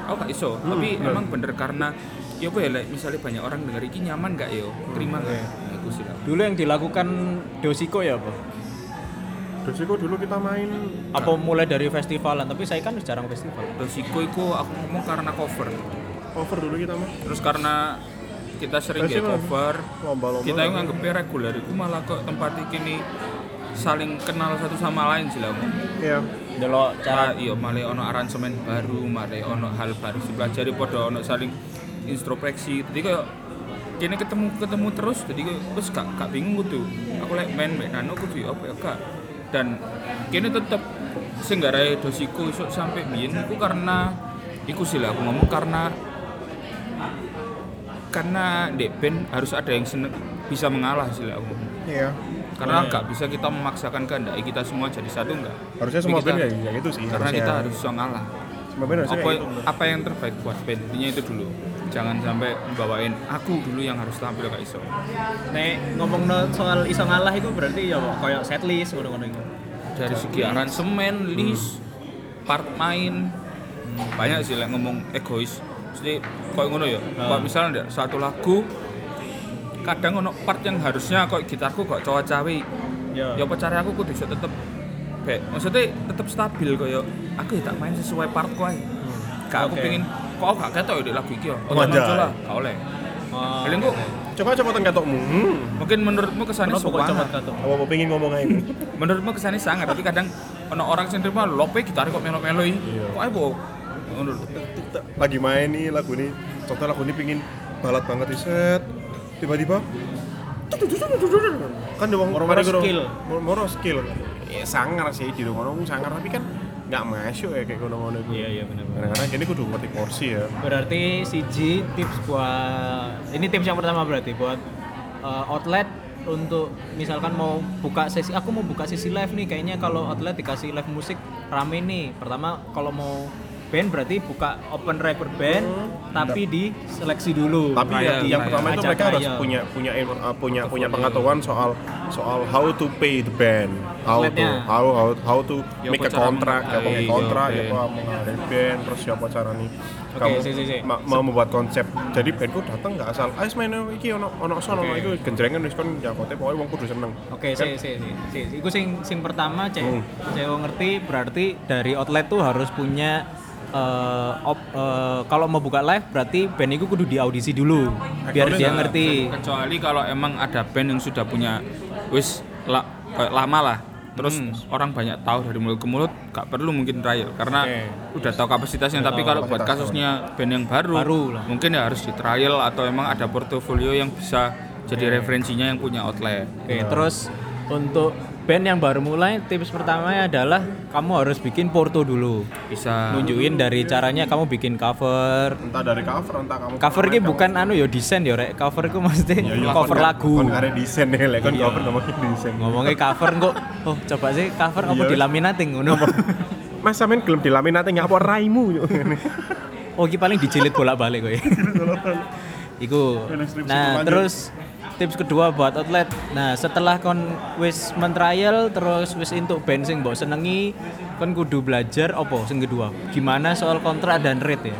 Aku gak iso, Hmm, tapi emang bener karena ya apa ya like, misalnya banyak orang denger iki nyaman gak yo? Hmm, Terima gak? iya. Iku sih lah. Dulu yang dilakukan Dosiko ya apa? Terus iku dulu kita main Apa mulai dari festivalan? Tapi saya kan jarang festival. Dosiko iku aku ngomong karena cover. cover dulu kita mah. Terus karena kita sering Terus kayak ini cover, Lomba-lomba. kita yang nganggepnya reguler iku malah kok tempat iki nih saling kenal satu sama lain sih lah. Om. Iya. Delok cara cara iya malah ono aransemen baru malah ono hal baru dipelajari padha ono saling introspeksi jadi kayak kini ketemu ketemu terus jadi kayak wis gak gak bingung gitu aku lek main mek kanu kudu ya apa ya gak dan kini tetep sing garai dosiku iso sampai biyen iku karena iku sih lah aku ngomong karena karena dek band harus ada yang seneng bisa mengalah sih lah aku ngomong. Iya. karena nggak bisa kita memaksakan kehendak kita semua jadi satu enggak Harusnya semua band kayak kayak gitu sih. karena harusnya. kita harus bisa ngalah semua band harusnya apa kayak gitu. apa yang terbaik buat band intinya itu dulu jangan sampai bawain aku dulu yang harus tampil gak iso Nek ngomong soal iso ngalah itu berarti ya kok koyo setlist ngono-ngono iku. dari segi aransemen list part main banyak sih like, ngomong egois jadi kayak ngono ya kalau misalnya ada satu lagu kadang ono part yang harusnya kok gitarku kok cowok cawi Ya. ya apa cara aku kudu iso tetep baik maksudnya tetep stabil koyo aku ya tak main sesuai partku aja gak aku Oke. pengen kok gak ketok ya dek lagu iki ya Oh, Wajah. tak muncul lah gak oleh Oh, Paling kok Coba coba ketokmu. Hmm. mungkin menurutmu kesannya kenapa kok sopan. cemot kato? Apa mau pengen ngomong aja? Menurutmu kesannya sangat, tapi kadang ono orang sing terima lope gitar kok melo-melo iki. Iya. Kok ae, Bo?" Ngono lho. Lagi main nih lagu ini. Contoh lagu ini pingin balat banget di set. Tiba-tiba kan doang Moro-moro skill. moro skill ya sangar sih di ngono sangar tapi kan nggak masuk ya kayak ngono-ngono itu Iya iya benar. kadang-kadang gini kudu ngerti porsi ya Berarti siji tips buat ini tips yang pertama berarti buat uh, outlet untuk misalkan mau buka sesi aku mau buka sesi live nih kayaknya kalau outlet dikasih live musik rame nih. Pertama kalau mau band berarti buka open record band tapi di seleksi dulu. tapi ya, Kayak- yang, yang kayak pertama itu Nah, ya. ajak mereka harus kayak. punya punya ilmu- uh, punya punya pengetahuan soal soal how to pay the band how to Outletnya. how how, how to Ya, make apa a cara contract Iya, ya menghargai, apa kontrak ya, ya apa menghargai band terus siapa cara nih kamu si, si, si. ma- mau membuat konsep jadi bandku datang nggak asal ais main iki ono ono sono Oke. itu genjrengan wis kon jakote pokoknya wong kudu seneng Oke, Kan? sih, sih, sih, sih. Iku sing sing pertama cek Hmm. cek wong ngerti berarti dari outlet tuh harus punya eh, op- eh, kalau mau buka live berarti band iku kudu diaudisi dulu biar dia ngerti. Kecuali kalau emang ada band yang sudah punya wis la, kayak lama lah. Terus orang banyak tahu dari mulut ke mulut, gak perlu mungkin trial karena udah tahu kapasitasnya. Tapi kalau buat kasusnya band yang baru, Baru lah. mungkin ya harus di trial atau emang ada portofolio yang bisa jadi referensinya yang punya outlet. Oke, terus untuk band yang baru mulai tips pertama adalah kamu harus bikin porto dulu. Bisa Nunjukin dari caranya kamu bikin cover. entah dari cover entah kamu Iya, Cover ki bukan anu ya desain ya rek. Cover ku mesti cover lagu. Iya. kan ada desain nih lek kon cover ngomongin desain Ngomongnya cover kok. Oh, coba sih cover apa Iya, wes. dilaminating ngono. Mas sampean gelem dilaminating apa raimu Oh, iki paling dijilid bolak-balik kowe. Iku. Deskripsi Nah, lanjut. terus tips kedua buat outlet. Nah, setelah kon wis mentrial terus wis entuk band sing mbok senengi, kon kudu belajar opo sing kedua. Gimana soal kontrak dan rate ya?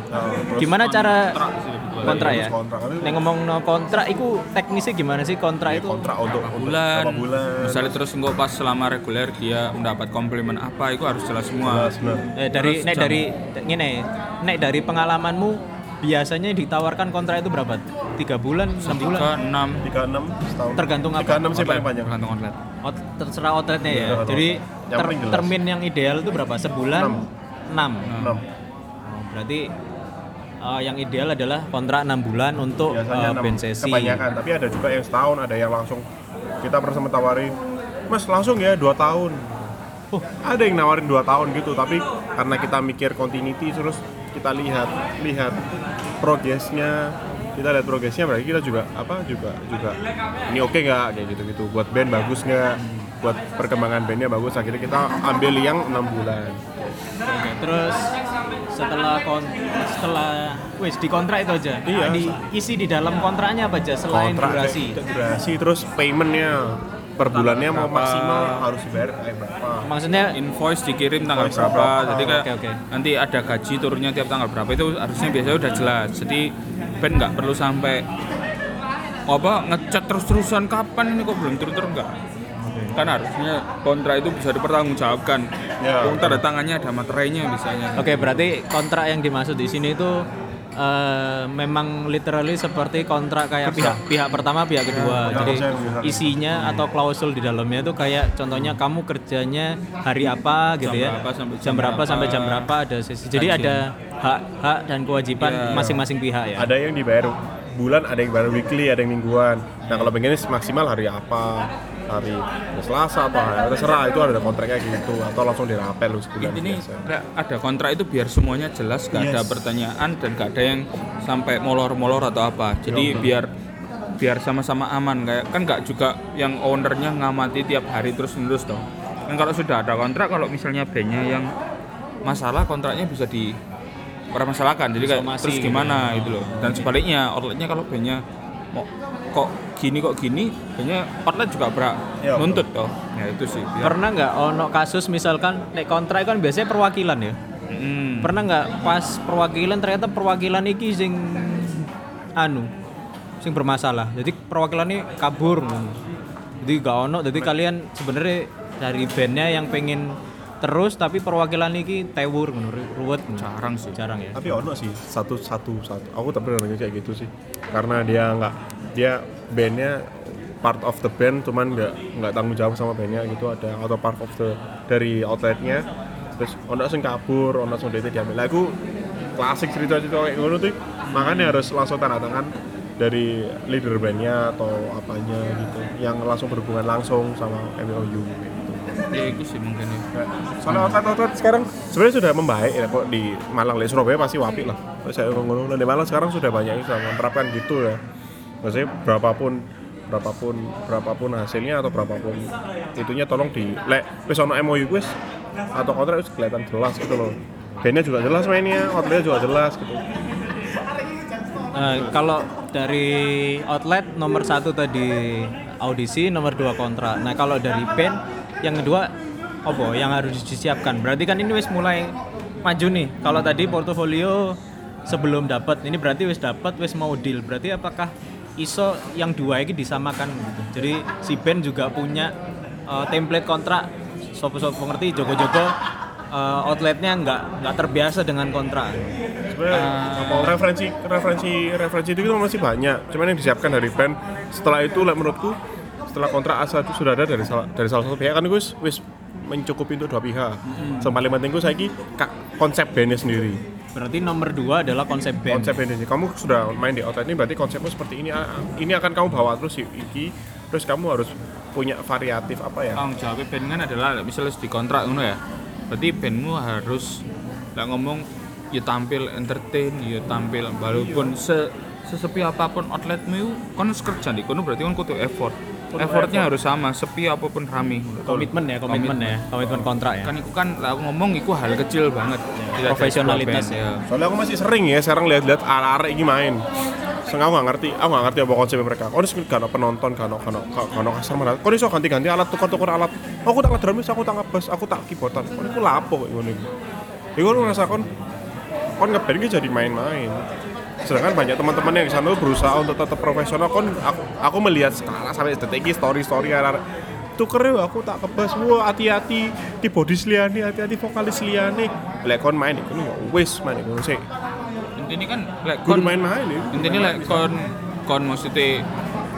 Gimana cara kontrak sih lebih tua. kontrak ya? Terus kontrak. Nek ngomong no kontrak iku teknisnya gimana sih kontrak itu? kontrak untuk berapa untuk bulan, berapa bulan misalnya terus nggak pas selama reguler dia mendapat komplimen apa itu harus jelas semua Jelas, benar. Eh, dari Terus nek jam. dari ngene, nek dari pengalamanmu biasanya ditawarkan kontrak itu berapa? 3 bulan, 6 bulan? tiga enam 36 setahun Tergantung apa? 36 sih paling panjang tergantung outlet Out- terserah outletnya ya. Iya, outlet. Jadi Yang ter- penting jelas. termin yang ideal itu berapa? Enam. Sebulan? 6. Enam. berarti eh, yang ideal adalah kontrak 6 bulan untuk biasanya eh, enam band sesi. kebanyakan tapi ada juga yang setahun ada yang langsung kita bersama tawari mas langsung ya dua tahun oh, ada yang nawarin dua tahun gitu tapi karena kita mikir continuity terus kita lihat lihat progresnya kita lihat progresnya berarti kita juga apa juga juga ini oke nggak kayak gitu gitu buat band bagus nggak buat perkembangan bandnya bagus akhirnya kita ambil yang enam bulan Oke, terus setelah kon setelah wis di kontrak itu aja. Iya. Nah, di- isi di dalam kontraknya apa aja selain Kontrak, durasi? kayak gitu, durasi terus paymentnya per bulannya mau maksimal harus dibayar kayak berapa Maksudnya invoice dikirim tanggal Invoice berapa, berapa. jadi kayak Oke, oke. nanti ada gaji turunnya tiap tanggal berapa itu harusnya biasanya udah jelas jadi band nggak perlu sampai apa ngecat terus-terusan kapan ini kok belum turun-turun nggak kan harusnya kontrak itu bisa dipertanggungjawabkan Ya. Wong tanda tangannya ada materainya misalnya Oke, berarti kontrak yang dimaksud di sini itu eh, memang literally seperti kontrak kayak pihak pihak pertama, pihak kedua. Jadi saya bilang. isinya atau klausul di dalamnya itu kayak contohnya kamu kerjanya hari apa gitu Jam ya. berapa sampai jam jam berapa sampai jam berapa. berapa ada sesi. Jadi ada hak-hak dan kewajiban Iya. masing-masing pihak ya. ada yang dibayar bulan ada yang bayar weekly ada yang mingguan nah kalau pengennya maksimal hari apa hari Selasa atau hari terserah itu ada kontraknya gitu atau langsung dirapel lu sebulan ini biasa. ada kontrak itu biar semuanya jelas gak ada pertanyaan dan gak ada yang sampai molor-molor atau apa jadi biar biar sama-sama aman kayak kan gak juga yang ownernya ngamati tiap hari terus menerus dong kan kalau sudah ada kontrak kalau misalnya bandnya yang masalah kontraknya bisa di permasalahkan jadi kayak Somasi terus gitu gimana gitu loh dan sebaliknya outletnya kalau bandnya mau kok gini kok gini bandnya outlet juga berat Ya, betul. nuntut toh ya itu sih biar, Pernah nggak ono kasus misalkan nek kontrak kan biasanya perwakilan ya. Hmm. Pernah nggak pas perwakilan ternyata perwakilan iki sing anu sing bermasalah. Jadi perwakilan ini kabur. ngono. Jadi gak ono. Jadi kalian sebenarnya dari bandnya yang pengen terus tapi perwakilan iki tewur ngono, ru- ruwet ngono. jarang sih Jarang ya. tapi ono sih satu satu satu aku tak pernah nanya kayak gitu sih karena dia nggak dia bandnya part of the band cuman nggak nggak tanggung jawab sama bandnya gitu ada atau part of the dari outletnya terus ono sing kabur ono sing itu diambil lagu klasik cerita cerita kayak ngono tuh makanya harus langsung tanda tangan dari leader bandnya atau apanya gitu yang langsung berhubungan langsung sama MOU gitu ya itu sih mungkin ya. soalnya otot-otot sekarang sebenarnya sudah membaik ya kok di Malang di Surabaya pasti wapi lah saya ngomong di Malang sekarang sudah banyak yang sudah menerapkan gitu ya maksudnya berapapun berapapun berapapun hasilnya atau berapapun itunya tolong di lek wis ono MOU wis atau kontrak wis kelihatan jelas gitu loh bandnya juga jelas mainnya outletnya juga jelas gitu Eh, kalau dari outlet nomor satu tadi audisi, nomor dua kontrak. Nah kalau dari band yang kedua apa yang harus disiapkan? Berarti kan ini wis mulai maju nih. Kalau tadi portofolio sebelum dapat, ini berarti wis dapat, wis mau deal. Berarti apakah iso yang dua ini disamakan? Gitu? Jadi si band juga punya eh, template kontrak. Sopo-sopo ngerti, jogo-jogo eh, outletnya nggak nggak terbiasa dengan kontrak. sebenarnya apa, referensi referensi referensi itu masih banyak cuman yang disiapkan dari band setelah itu like, menurutku setelah kontrak asal itu sudah ada dari salah dari salah satu pihak kan gus wis mencukupi untuk dua pihak Yang paling penting gue saiki ka- konsep bandnya sendiri Berarti nomor dua adalah konsep band. konsep bandnya sendiri. kamu sudah main di outlet ini berarti konsepmu seperti ini ah, ini akan kamu bawa terus i- iki terus kamu harus punya variatif apa ya tanggung jawab band kan adalah misalnya di kontrak ngono ya berarti bandmu harus lah ngomong ya tampil entertain ya tampil walaupun se sesepi apapun outletmu itu kan harus kerja di kono berarti kan kudu effort effortnya harus sama sepi apapun rame komitmen ya komitmen ya komitmen kontrak ya kan itu kan lah aku ngomong itu hal kecil banget Tidak ada Profesionalitas sebuah ya. band, soalnya aku masih sering ya sekarang lihat-lihat arah-arah ini main Seng aku gak ngerti, aku gak ngerti apa konsep mereka. Kau harus gak ada penonton, gak ada gak ada- gak ada customer. Kau bisa ganti-ganti alat, tukar-tukar alat. Oh, Aku tak ada drummis, aku tak ngebas, aku tak keyboardan. Kau ini aku lapo kayak gini. Iku lu Ya, ngerasa kon kon ngeband ini jadi main-main. Sedangkan banyak teman-teman yang di sana tuh berusaha untuk tetap profesional. Kon aku, aku melihat skala sampai detik ini story-story arah tuker yuk, aku tak kebas wah hati-hati keyboardis liane hati-hati vokalis liane lek kon main iku ya wis main iku sik intinya kan lek kon- kudu main-main ya. intinya lek kon kon maksudnya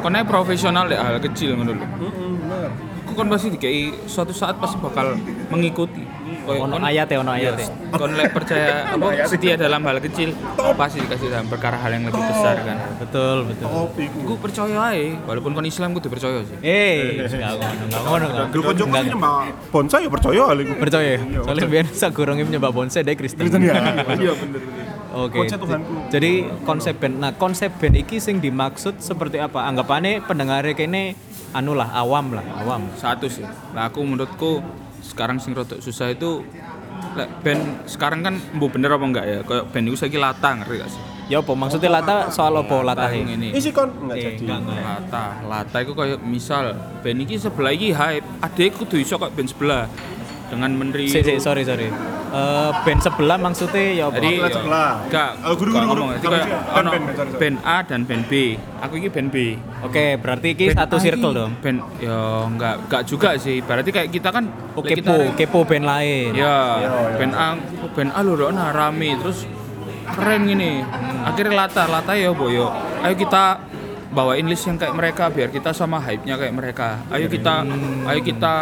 kon ae profesional lek hal kecil ngono lho Heeh, bener. aku kan pasti dikei suatu saat pasti bakal mengikuti Kayak Ono kon- ayat ya, ono ayat ya. Kan Yes. kon lek percaya apa setia dalam hal kecil pasti dikasih dalam perkara hal yang lebih besar kan Betul, betul. gue percaya aja walaupun kon Islam gue percaya sih Eh, enggak ngono, enggak ngono. enggak. Dulu konjoku sih nyembah bonsai ya percaya kali ku. Percaya. Soalnya biar sagurunge nyembah bonsai dia Kristen. Iya, Kristen ya. Iya bener. Oke. Konsep Tuhanku. Jadi konsep band. Nah, konsep band iki sing dimaksud seperti apa? Anggapane pendengare kene anu lah awam lah, awam. satu sih lah aku menurutku sekarang sing rotok susah itu lek band sekarang kan bu bener apa enggak ya kayak band itu saya latah ngerti gak sih Ya apa maksudnya lata soal apa Latah latahe? Iya, ini Isi kon enggak Iya, Eh, jadi. enggak, enggak. Lata, lata itu kayak misal band ini sebelah ini hype, adek kudu iso kok band sebelah dengan menteri. Sik, sik, sorry, sorry. Eh band sebelah maksudnya ya apa? Jadi Lata Oh, sebelah. enggak, Oh, guru, enggak guru, ngomong. guru. Jadi kayak Sorry, sorry. ono Band, band, sorry, sorry. band A dan band B. Aku ini band B. Oke, berarti iki satu A circle ini dong. Band ya enggak, enggak juga sih. Berarti kayak kita kan Oh, like kita- kepo, kepo band lain. Ya, band A, oh, band A lho Rona, rame terus keren gini. Akhirnya lata, lata ya boyo. Ayo kita bawain list yang kayak mereka biar kita sama hype-nya kayak mereka. Ayo kita ayo kita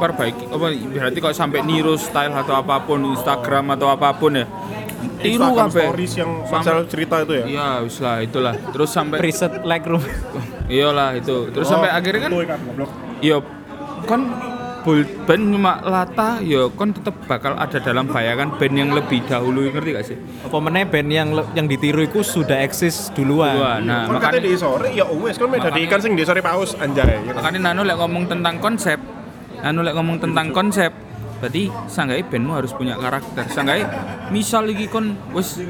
perbaiki. Apa berarti kalau sampai niru style atau apapun Instagram atau apapun ya. Tiru Instagram kabeh. stories yang Sama- masalah cerita itu ya. Iya, wis lah itulah. Terus sampai Preset Lightroom. iyalah itu. Terus Oh, sampai akhirnya kan itu ikan, goblok. ya kan bul- band cuma lata ya kan tetap bakal ada dalam bayangan band yang lebih dahulu ngerti gak sih? apa meneh band yang le- yang ditiru iku sudah eksis duluan. Wah, nah Kon katanya makanya di sore ya wes kon meh dadi Makanya- Iya. ikan sing di sore paus anjay. ya kan? makanya Nano lek ngomong tentang konsep, Nano lek ngomong tentang konsep, berarti sanggai bandmu harus punya karakter. Sanggai misal iki kon wis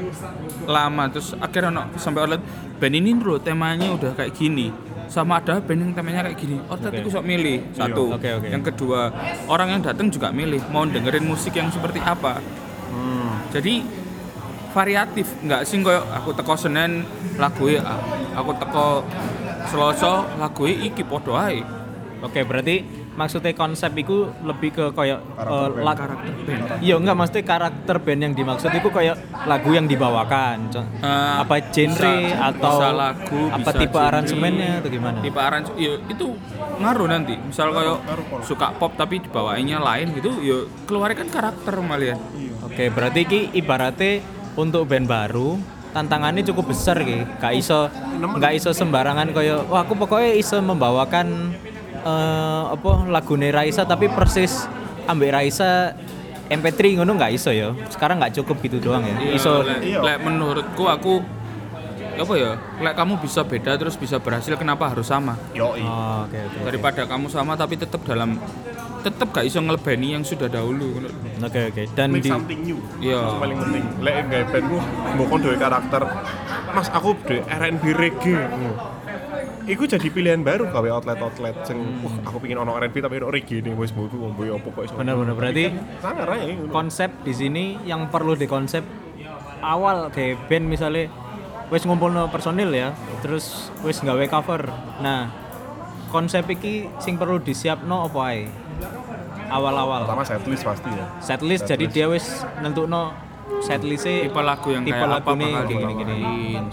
lama terus akhirnya ono sampai outlet band ini dulu temanya udah kayak gini sama ada band yang temanya kayak gini outlet Oke. itu sok milih satu Oke, oke. yang kedua orang yang datang juga milih mau dengerin musik yang seperti apa Hmm. jadi variatif nggak sih koyo aku teko Senin lagu e, ah, aku teko Selasa lagu e iki podo ae Oke, berarti maksudnya konsep iku lebih ke koyo eh, la- karakter band Iya enggak maksudnya karakter band yang dimaksud itu kayak lagu yang dibawakan. Co- Eh, apa genre bisa- atau bisa lagu, apa bisa tipe genre. aransemennya atau gimana? tipe aranj ya, itu ngaruh nanti misal koyo suka pop tapi dibawainnya lain gitu ya keluarnya kan karakter malah ya Oke, berarti ki ibaratnya untuk band baru tantangannya cukup besar ki. Gak iso gak iso sembarangan koyo wah aku pokoknya iso membawakan eh, apa lagune Raisa tapi persis ambek Raisa MP3 ngono nggak iso ya. Sekarang nggak cukup gitu doang ya. Iya, Iso lek, lek menurutku aku apa ya lek kamu bisa beda terus bisa berhasil kenapa harus sama Yoi. Oh, oke oke. oke. daripada kamu sama tapi tetap dalam tetap gak iso ngelebeni yang sudah dahulu Oke oke. Dan Make di something new. Iya. Itu paling penting. Lek gawe bandmu mbok kon duwe karakter. Mas aku duwe R&B reggae. Iku jadi pilihan baru gawe outlet-outlet sing wah aku pingin ono R&B tapi ono reggae nih wis mbok ngombe opo kok iso. benar-benar berarti Sangar ae. ngono. konsep di sini yang perlu dikonsep awal kayak band misalnya wis ngumpulno personil ya terus wis nggawe cover nah konsep iki sing perlu disiapno apa ae awal-awal Pertama setlist pasti ya. setlist jadi dia wis nentukno setlistnya tipe lagu yang tipe kayak apa lagune bakal kayak gini-gini. dibawain.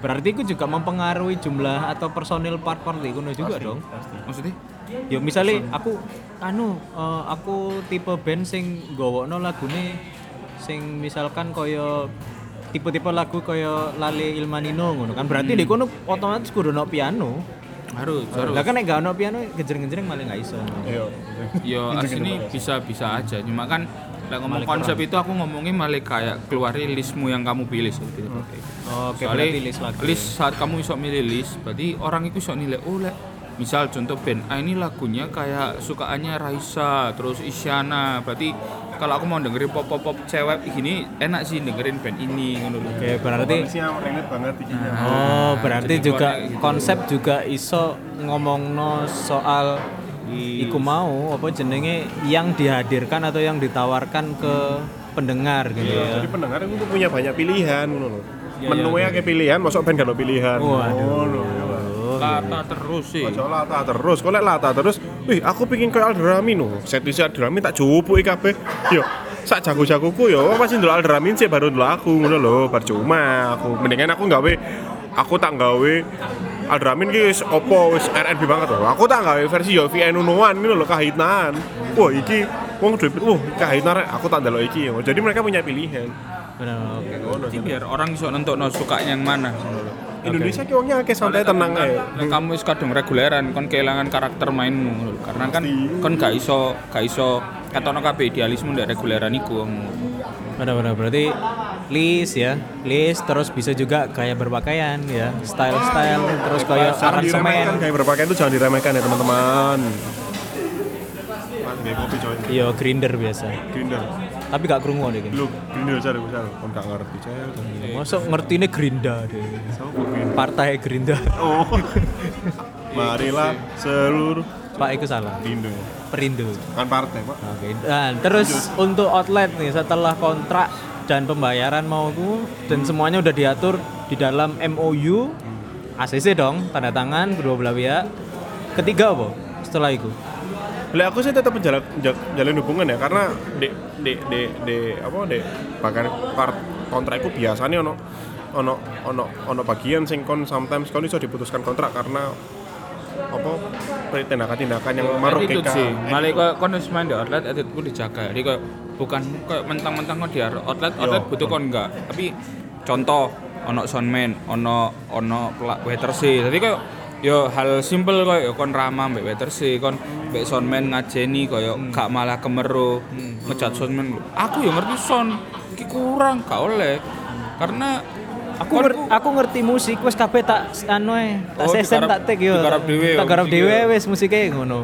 berarti itu juga mempengaruhi jumlah atau personil part-part itu juga dong maksudnya Ya misalnya aku anu eh, aku tipe band sing gowokno lagune sing misalkan kaya tipe-tipe lagu kaya Lale Ilmanino ngono kan berarti di kono otomatis kudu ono piano. harus harus Lah kan nek gak ono piano genjreng-genjreng malah gak iso. Iya. yo asini bisa bisa aja cuma kan lek ngomong konsep itu aku ngomongin malah kayak keluarin listmu yang kamu pilih sih gitu. Oke, Soalnya berarti list lagu. list saat kamu iso milih list berarti orang itu iso nilai oh lek misal contoh band A ini lagunya kayak sukaannya Raisa terus Isyana berarti kalau aku mau dengerin pop pop pop cewek gini enak sih dengerin band ini ngono lho. Oke, berarti Isinya relate banget isinya. Oh, berarti jadi juga keluarnya gitu. konsep juga iso ngomongno soal iku mau apa jenenge yang dihadirkan atau yang ditawarkan ke pendengar gitu ya. Jadi pendengar itu punya banyak pilihan ngono lho. Menunya ke pilihan, masuk band kalau pilihan. Waduh. Ngono, ya, Pak. iya, Lata terus sih Ojo lata terus, kau lek lata terus. Wih, aku pingin kayak Aldrami no. Set isi Aldrami tak jupuk iki kabeh. Yo, sak jago-jagoku yo wong pasti ndelok Aldrami sih baru ndelok aku ngono lho, percuma aku. Mendingan aku gawe aku tak gawe Aldramin ki wis opo wis RNB banget loh. Aku tak gawe versi yo VN Unoan ini lho kahitnan. Wah iki wong duwe wah kahitnan aku tak ndelok iki. Jadi mereka punya pilihan. Bener. Jadi biar orang bisa nentok suka yang mana ngono lho. Indonesia ki wongnya akeh santai tenang ae. Nah, kamu wis kadung reguleran kon kehilangan karakter mainmu ngono lho. karena kan kon gak iso gak iso katono kabeh idealisme ndak reguleran iku Bener bener berarti list ya, list terus bisa juga kayak berpakaian ya, style style terus kayak Jangan diremehkan aransemen, kayak berpakaian itu jangan diremehkan ya teman-teman. Mas, nggak kopi coy. yo Iya, grinder biasa. Grinder. Tapi gak krungu deh. Lu grinder cari misal kon gak ngerti cel. Masuk ngerti ini gerinda deh. Partai gerinda. Oh. Marilah seluruh Pak itu salah. Indo. Perindo. Kan partai, Pak. Oke. Dan terus untuk outlet nih setelah kontrak dan pembayaran mau ku dan semuanya udah diatur di dalam MOU ACC dong tanda tangan kedua belah pihak. Ketiga apa? Setelah itu. Lah aku sih tetap menjalin menjalin hubungan ya karena di di di di apa di bahkan part kontrakku biasanya ono ono ono ono bagian sing kon sometimes kon iso diputuskan kontrak karena apa tindakan-tindakan yang Attitude sih. merugikan. Malah kok kon wis main di outlet attitude dijaga. Jadi kok bukan kok mentang-mentang kok di outlet outlet Iya. butuh kon enggak. Tapi contoh ono soundman, ono ono pelak waiter sih. Tapi kok yo hal simple kok yo kon ramah mbek waiter sih, kon mbek soundman ngajeni koyo Hmm. gak malah kemeru ngejat soundman. Aku yo ngerti sound iki kurang gak oleh. Karena Aku kon nger- ku- aku ngerti musik wes kabeh tak s- anu ae, tak Oh, sesen digarap- tak tek yo. digarap dhewe Tak ya, garap musik dhewe ya. wes musike ngono.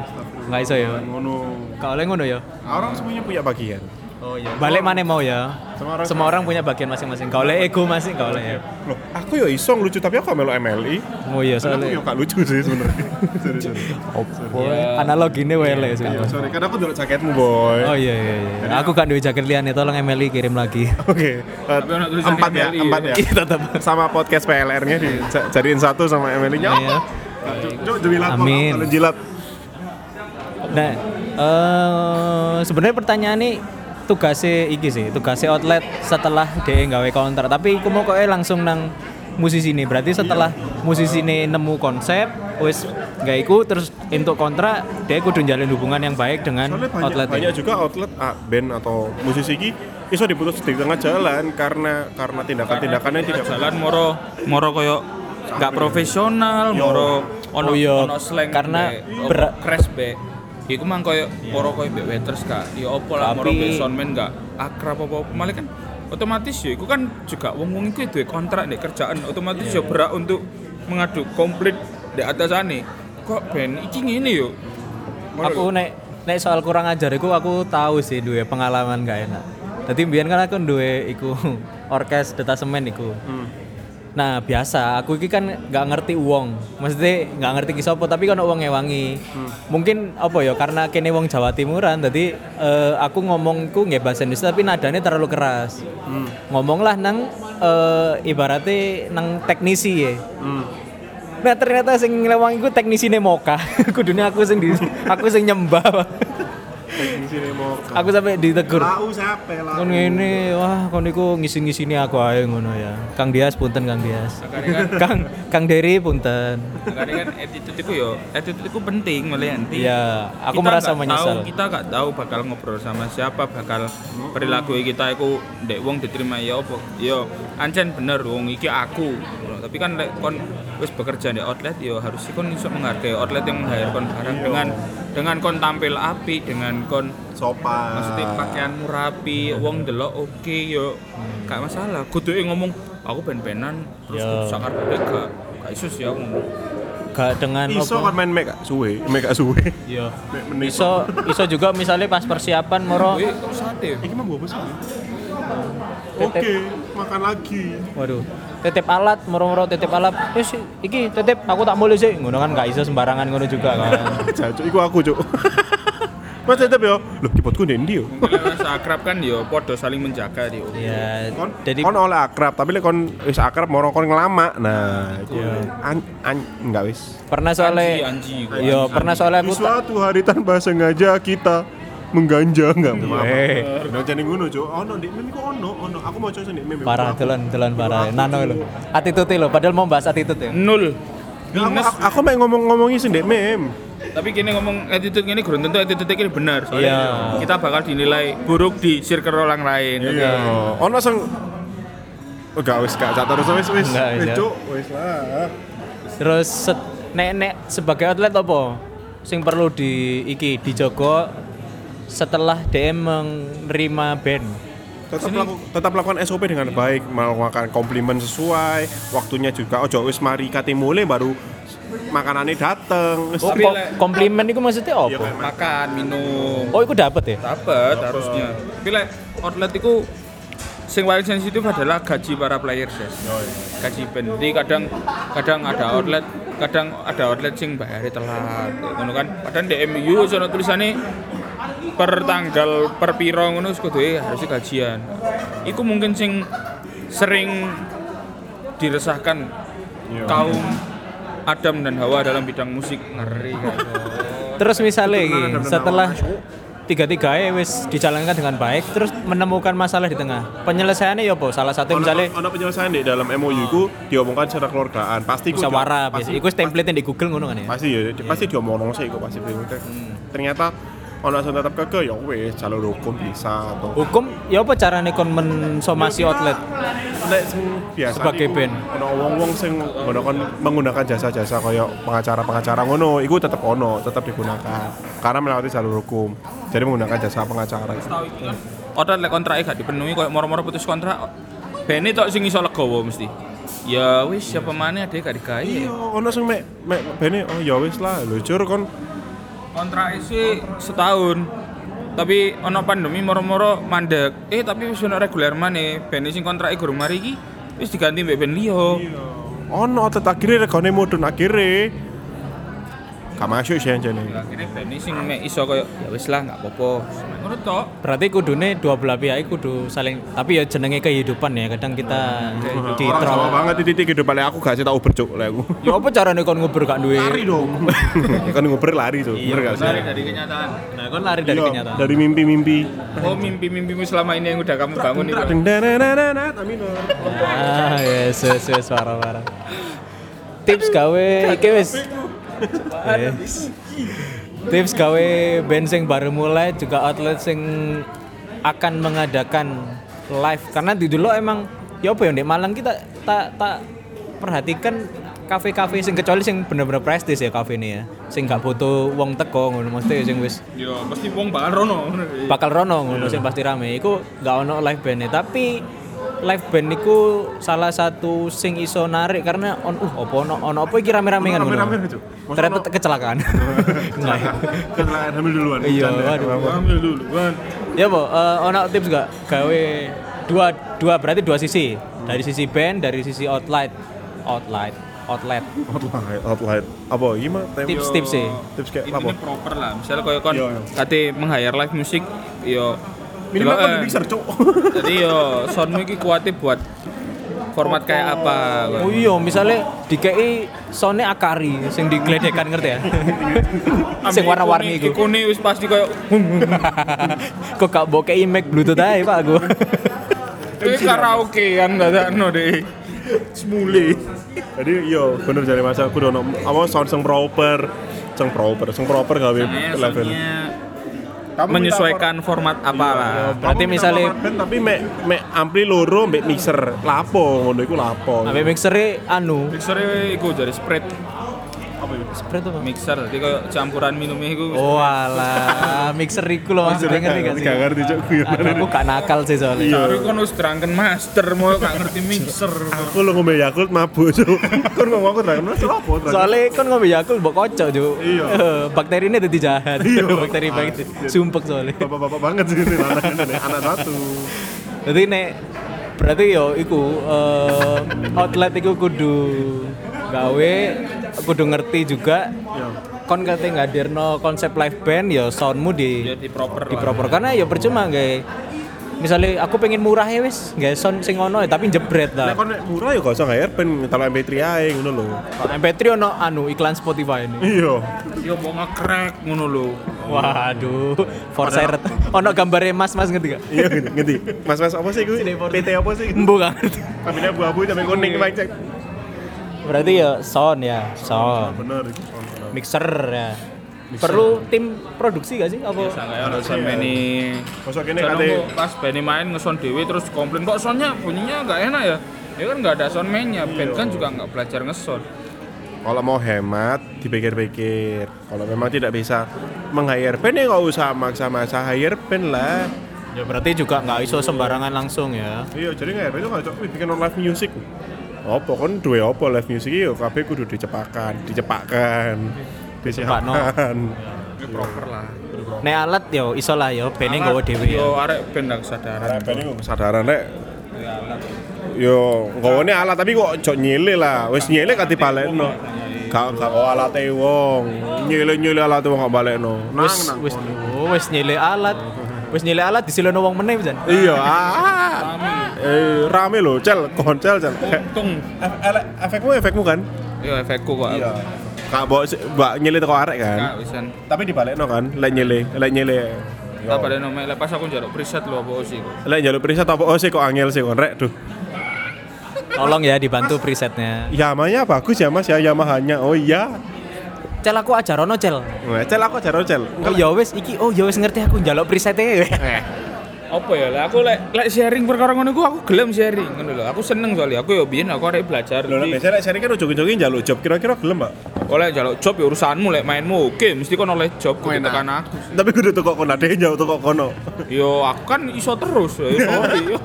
Enggak iso ya. Ngono. Gak oleh ngono ya. Orang semuanya punya bagian. Oh iya. Balik mana mau ya? Semua orang- Semua orang punya bagian masing-masing. Gak oleh ego masing, gak oleh ya. Loh, aku yo iso lucu tapi aku gak melu MLI. Oh iya Karena aku yo soalnya. gak lucu sih sebenarnya. sorry, sorry. Opo analog ini wele Yo, soalnya. sorry, karena aku dulu jaketmu, boy. Oh iya iya iya. Aku kan duwe jaket liane, tolong Emily kirim lagi. Oke. eh, Tapi ono tulisan empat ya, MLI. empat ya. Iya tetap. sama podcast PLR-nya di jadiin satu sama Ya, MLI-nya. Iya. Cuk, jilat Amin. mohon maaf kalau jilat. Nah, eh sebenarnya pertanyaan ini tugasnya iki sih, tugasnya outlet setelah dia nggawe kontrak. Tapi aku mau kok langsung nang musisi ini. Berarti setelah Iya. musisi ini nemu konsep, wis nggak ikut terus untuk kontrak dia kudu jalin hubungan yang baik dengan Soalnya banyak, outlet. ya? banyak juga outlet ah, band atau musisi ini iso diputus di tengah jalan karena karena tindakan-tindakannya tidak jalan moro moro koyo nggak profesional moro ono Oh iya, ono slang karena be, ber- opo, crash be iku mang koyo moro koyo be waiters gak ya opo lah moro Tapi- be soundman gak akrab apa apa malah kan otomatis ya iku kan juga wong wong iku duwe kontrak nek kerjaan otomatis Iya. ya berak untuk mengadu komplit di atasane kok ben iki ngene yo aku nek nek soal kurang ajar iku aku tahu sih duwe pengalaman gak enak. Dadi mbiyen kan aku duwe iku orkes detasemen iku. Nah, biasa aku iki kan nggak ngerti uang. Maksudnya nggak ngerti ki sapa tapi kan uang ngewangi. Mungkin apa ya karena kene wong Jawa Timuran dadi eh, aku ngomongku nggak bahasa Indonesia tapi nadanya terlalu keras. Ngomonglah nang eh, ibaratnya nang teknisi ya. Nah ternyata sing ngelewang iku teknisine Moka. Kudunya aku sing di, aku sing nyembah. aku sampai ditegur. tahu siapa lah. Kon ngene, wah kon iku ngisin-ngisini aku ae ngono ya. Kang Dias punten Kang Dias. Kang Kang Dery punten. Makanya kan attitude iku yo, attitude iku penting mulai nanti. Iya, aku Kita merasa nggak menyesal. Tahu, gitu. kita nggak tahu bakal ngobrol sama siapa, bakal perilaku kita iku ndek wong diterima ya opo. Yo, ancen bener wong iki aku. Ngono. Tapi kan lek kon wis bekerja di outlet yo harus kon iso menghargai outlet yang meng-hire kon barang dengan dengan kon tampil api, dengan kon Sopan. maksudnya pakaianmu rapi, wong delok oke yo. Gak masalah. Kudu ngomong aku ben-benan terus Yo. kudu sakar bedek gak gak iso sih aku ngomong. Gak dengan Iso kan main make suwe, make suwe. Iya. Mek menit. Iso iso juga misalnya pas persiapan moro. Wih, Eh, kok sate? Ini mah gua pesan. Oke, makan lagi. Waduh. Titip alat, moro-moro titip alat. Wis iki titip aku tak mulih sih. Ngono kan gak iso sembarangan ngono juga kan. Jancuk iku aku, Cuk. Mas tetep yo. Loh, keyboardku ndendi yo? Mungkin akrab kan yo podo saling menjaga ya. yo. Iya. kon Jadi kon oleh akrab tapi lek kon wis akrab moro kon ngelama nah itu Iya. an an enggak wis pernah Anji, soalnya anji. gua. Iya, pernah soalnya di aku tak- suatu hari tanpa sengaja kita mengganja enggak Iya. eh nang jane ngono cuk ono ndek meme ku ono ono aku mau coba ndek meme parah Aku- telan telan parah nano lo attitude lo padahal mau bahas attitude ya Nul. Aku, minus aku, aku main ngomong-ngomongin sendiri mem. tapi kini ngomong attitude ini kurang tentu attitude ini benar soalnya Iya. kita bakal dinilai buruk di circle orang lain Iya. Ono sing Oh, gak wis gak gak terus wis wis. Nggak, Wis iya. cuk, wis lah. Terus set, nek nek sebagai atlet apa? Sing perlu di iki dijogo setelah DM menerima band. Tetap, laku- tetap lakukan SOP dengan baik, melakukan komplimen sesuai, waktunya juga ojo wis mari kate mulai baru makanannya dateng. Wis, Oh, Tapi ko- lek- komplimen itu maksudnya iya, apa? kayak makan. makan minum Oh, itu dapat ya? dapat harusnya tapi like, outlet itu sing paling sensitif adalah gaji para player ya gaji band jadi kadang kadang ada outlet kadang ada outlet sing bayarnya telat ngono kan padahal di MU sono tulisannya per tanggal per piro ngono wis kudu eh, harusnya gajian iku mungkin sing sering diresahkan Iya. kaum Adam dan Hawa dalam bidang musik ngeri kan Terus misalnya iki, setelah tiga-tiga wis dijalankan dengan baik terus menemukan masalah di tengah penyelesaiannya ya apa salah satu Ono- misalnya ono penyelesaian di dalam MOU ku diomongkan secara keluargaan. Pasti ku- musyawarah pasti- biasa iku template yang di Google ngono kan ya pasti ya di- pasti diomong sih kok pasti bingung Hmm. ternyata ono sing tetap keke ya wis jalur hukum bisa atau hukum ya apa carane kon mensomasi outlet nek sing biasa Sebagai iku, band. ono wong-wong sing menggunakan menggunakan jasa-jasa kaya pengacara-pengacara ngono iku tetap ono tetap digunakan karena melewati jalur hukum jadi menggunakan jasa pengacara Orang lek kontraknya gak dipenuhi koyo moro-moro putus kontrak. Bene tok sing iso legowo mesti. Ya wis siapa maneh ade gak digawe. iya ono sing mek mek bene oh ya wis lah lho jur kon Kontrak sih setahun. Tapi ono pandemi moro-moro mandek. Eh tapi wis ono reguler maneh. Bene sing kontrake gurung mari iki wis diganti mbek ben Ya, liya. ono otot akhirnya regane mudun akhirnya gak masuk sih anjene Akhirnya Bene sing mek iso koyo ya wis lah gak apa-apa. Ngono tok. berarti kudune dua belah pihak kudu saling tapi ya jenenge kehidupan ya kadang kita di orang sama banget di titik hidup aku gak sih tau bercuk lek aku ya apa carane kon ngubur gak duwe dong kan ngobrol lari tuh bener gak sih Lari dari kenyataan. nah kon lari dari Iya, kenyataan dari mimpi-mimpi Oh mimpi-mimpimu selama ini yang udah kamu bangun itu. Deng, deng, deng, deng, deng, deng, tak minum. ah yes yes yes parah parah tips gawe iki wis Yes. tips gawe band sing baru mulai juga outlet sing akan mengadakan live karena di dulu emang ya apa ya Ndek, Malang kita tak tak perhatikan kafe-kafe sing kecuali sing bener-bener prestis ya kafe ini ya sing gak butuh wong teko ngono mesti sing wis Ya pasti wong bakal rono. bakal rono ngono sing pasti rame iku gak ono live band tapi live band iku salah satu sing iso narik karena on uh opo ono ono opo iki rame-rame kan ngono. Rame-rame, Cuk. Masa ternyata ono- kecelakaan Enggak. Kecelakaan hamil duluan. iya bercanda. waduh Ambil duluan. ya po eh, ono tips gak gawe dua dua berarti dua sisi dari sisi band dari sisi outlet outlet outlet Outline, outline. Apa ini mah? Tem- tips tips sih Tips kayak apa? Intinya proper lah. Misalnya kalau kon Iya, iya. kate meng-hire live music, yo delok, Minimal kan eh. di mixer, Cuk. Jadi yo soundmu iki kuatnya buat format kayak apa. kan. Oh iya, misalnya dikei sone akari sing digledekan ngerti ya. sing Ambil warna-warni iku. Ikune wis pasti koyo Kok gak bokei mic bluetooth aja pak gue iki karaoke Eh, kan dadakno deh. Semule. Jadi iya, bener jadi masa aku dono apa sound sing proper, sing proper, sing proper Nah, gawe level. Kamu Menyesuaikan format apalah. Berarti minta misalnya- format band, tapi mek mek ampli loro mek mixer lapo ngono iku lapo. Sampai mixernya anu Mixernya e iku jadi spread Spread apa? mixer, jadi koyo campuran minumnya iku. Oh alah, mixer iku loh maksudnya ngerti Iya. gak sih? Gak ngerti, Cuk. Aduh, aku gak nakal sih soalnya Baru kon wis drunken master mau gak ngerti mixer. Aku lo ngombe Yakult mabuk, Cuk. Kan ngomong aku Dragon Mas apa? Dragon? Soalnya kan ngombe Yakult mbok kocok Cuk. Iya. Eh, Bakterinya jadi jahat. Iya. Bakteri bakteri sumpek soalnya. Bapak-bapak banget sih ini anak anak satu. Jadi nek berarti yo iku eh, outlet iku kudu gawe kudu ngerti juga Ya. kon kate ngadirno konsep live band ya soundmu di Jadi proper. di lah. proper karena ya percuma gak misalnya aku pengen murah ya wis gak sound sing ono ya, tapi jebret lah Nek kon nek murah ya gak usah nggak pen ngetal MP3 ae ngono lho. MP3 ono anu iklan Spotify ini Iya. Yo mau ngekrek ngono lho. waduh for sale ono gambarnya mas mas ngerti gak Iya ngerti. Mas-mas apa sih Iya. kuwi? PT apa sih? embu gak ngerti Kabinnya abu-abu sampai kuning cek. Berarti ya sound ya, sound. bener iki sound bener. Mixer ya. Perlu tim produksi gak sih apa? Sangat ono sampeyan Masa kene Sono kate- kok pas band main ngeson dewe terus komplain kok soundnya bunyinya nggak enak ya ya kan nggak ada sound mainnya band kan juga nggak belajar ngeson Kalau mau hemat, dipikir-pikir. Kalau memang tidak bisa meng-hire band ya nggak usah maksa-maksa hire band lah. Ya berarti juga nggak iso sembarangan langsung ya. Iya, jadi nggak itu nggak cocok. Wih, bikin live music. Apa kan dua apa live music ya kabeh kudu dicepakan, dicepakan, Dicepakno. disiapkan. ini proper lah Nek alat yo iso lah yo, bene nggawa dhewe ya. yo arek band nggak kesadaran Nah, band itu kesadaran lek Iya, Yo, nggawane alat tapi kok ojo nyile lah. Wis nyile kate balekno. Gak gak kok alate wong. Nyile-nyile alate wong gak balekno. Nang Wis nang. wis oh, wis nyilek alat. Wis nyilek alat disilono wong meneh pisan. Iya, ah. Eh, rame loh, cel, koncel, cel. untung Ef- ele- Efekmu, efekmu kan? yo efekku Iya, kok Iya. Kak, bawa si- mbak nyele teko arek kan? nggak wisan Tapi dibalekno kan, lek nyele, lek nyele. Iya. tak pada nomor lepas aku njaluk preset lo apa sih kok Lek njaluk preset apa oh sih kok angel sih kon rek, duh. Tolong ya dibantu presetnya. Yamanya bagus ya Mas ya, Yamahanya. Oh iya. Cel aku ajarono cel. Nah, cel aku jarang cel. Oh ya wis iki oh ya wis ngerti aku njaluk presetnya. apa ya lah aku lek lek sharing perkara ngono iku aku gelem sharing ngono lho aku seneng soalnya aku yo biyen aku arek belajar Lho, lek Jadi, biasanya lek sharing kan ujung-ujungnya njaluk job kira-kira gelem, Mbak. oleh njaluk job ya urusanmu lek mainmu oke mesti kon oleh job kudu tekan aku Tapi kudu teko kono, ade njaluk teko kono. yo aku kan iso terus yo sorry Iya. yo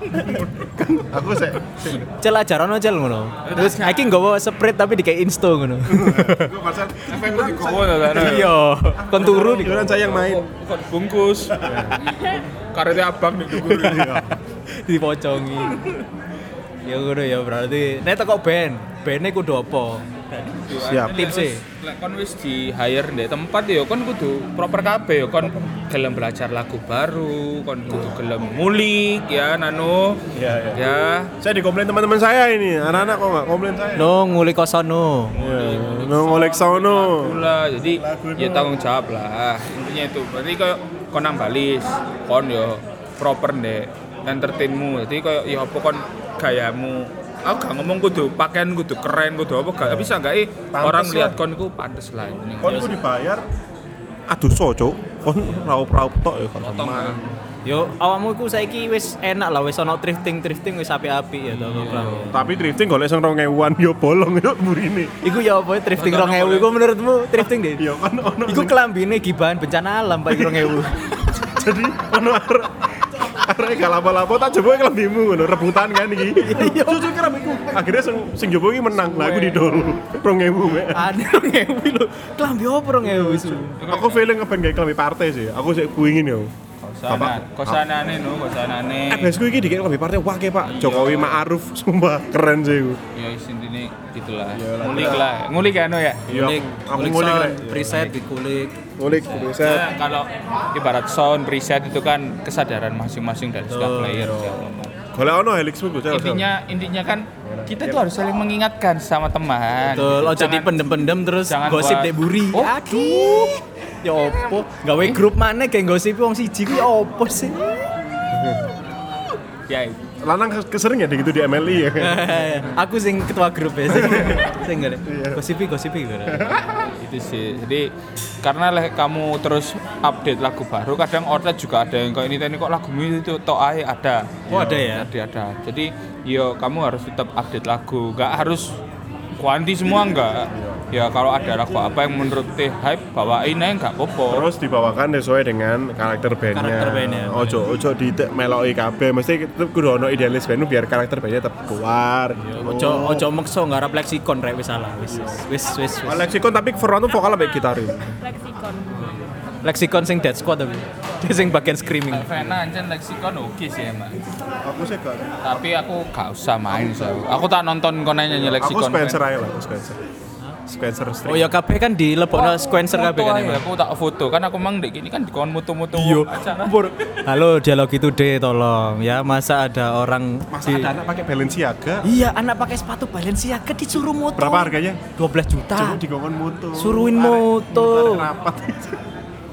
Aku sek sek- Cel ajarono cel ngono. Terus iki nggawa sprint tapi dikai insto ngono. Aku pasal efekmu Kowe lho, Zara. Iya, kon turu nih. Yuran saya yang main. Bukan bungkus. Iya. Karetnya abang nih gugur. dipocongi ya ngono ya berarti nek teko band band kudu apa Siap. Tips e. Lek kon wis di hire ndek tempat ya kon kudu proper kabeh ya kon gelem belajar lagu baru, kon kudu gelem mulik ya nano. Iya, iya. Ya. Saya dikomplain teman-teman saya ini, anak-anak kok nggak komplain saya. no ngulik kosono Iya, no ngolek sono. Pula jadi ya tanggung jawab lah. Intinya itu. Berarti koyo kon nang balis, kon yo proper ndek entertainmu. Jadi koyo ya apa kon gayamu. Aku gak ngomong kudu pakaian kudu keren kudu apa gak tapi seenggaknya Pantes orang lah. lihat kon ku pantes lah. Ini. Kon ku dibayar aduh so, Cuk. Kon raup-raup tok ya kon. Potong lah. yo awakmu iku saiki wis enak lah wis ono thrifting thrifting wis apik-apik ya to Tapi drifting golek sing 2000-an yo bolong yo murine. iku ya apa thrifting 2000 iku menurutmu thrifting deh Yo kan ono. iku kelambine gibahan bencana alam pak 2000 Jadi ono arek arek gak lapa-lapa tak jebuk kelebimu ngono, rebutan kan iki. Iya, jujur kira iku. Akhirnya sing sing jebuk iki menang. Lah aku didol 2000 mek. ane 2000 lho kelambi apa 2000 isu Aku feeling ngeben gawe kelambi partai sih. Aku ya. sik kuingin yo. Kosanan, kosanane no, kosanane. Besku iki dikek kelambi partai wah Pak. Jokowi Ma'ruf sumpah keren sih iku. Ya wis intine gitulah. Ya, Ngulik lah. Ngulik ya no ya. Iya, aku ngulik rek. preset dikulik Ngulik bisa. Nah, kalau ibarat sound preset itu kan kesadaran masing-masing dari setiap player ya. Golek ono helixmu ku cel. cel. Intinya intinya kan kita tuh harus saling mengingatkan sama teman. Gitu. Betul, ojo Jangan- dipendem-pendem terus jangan gosip buat- dek buri. Oh, Aduh. Ya opo, gawe grup mana kayak gosip wong siji kuwi opo sih? Ya, itu. Lanang kes- kesering ya di- gitu di MLI ya. Aku sing ketua grup ya sing. Sing ngene. Iya. Gosipi gosipi gitu. itu sih jadi karena leh kamu terus update lagu baru kadang outlet juga ada yang kok ini ini kok lagu ini itu toh ae ada Oh, ada ya? Iya. jadi ada jadi yo kamu harus tetap update lagu nggak harus kuanti semua enggak ya kalau ada lagu apa yang menurut teh hype bawain aja nggak popo Terus dibawakan sesuai dengan karakter bandnya. Karakter bandnya, Ojo ojo di meloi kabeh. Mesti tetep kudu ono idealis bandmu biar karakter bandnya tetep keluar. gitu. Ojo ojo mekso ngarap leksikon rek wis salah. Wis wis wis. wis. Alexikon tapi Ferwan tuh vokal sampai gitarin. Leksikon. Leksikon sing dead squad tapi. Dia sing bagian screaming. Vena anjen leksikon oke sih emang Aku sih gak. tapi aku gak usah main sih aku tak nonton kau nyanyi Aku leksikon Spencer aja lah, aku Spencer. Spencer Oh Street. ya kabeh kan Nah, dilebokno Squencer kabeh kan emang. aku tak foto kan aku mang dek ini kan dikon mutu-mutu Iya. acara. Halo dialog itu deh tolong ya masa ada orang Masa ada anak pakai Balenciaga? Iya, anak pakai sepatu Balenciaga disuruh moto. Berapa harganya? 12 juta. Ah. Cuma digongkon moto. Suruhin Arek- moto. arek Rapat.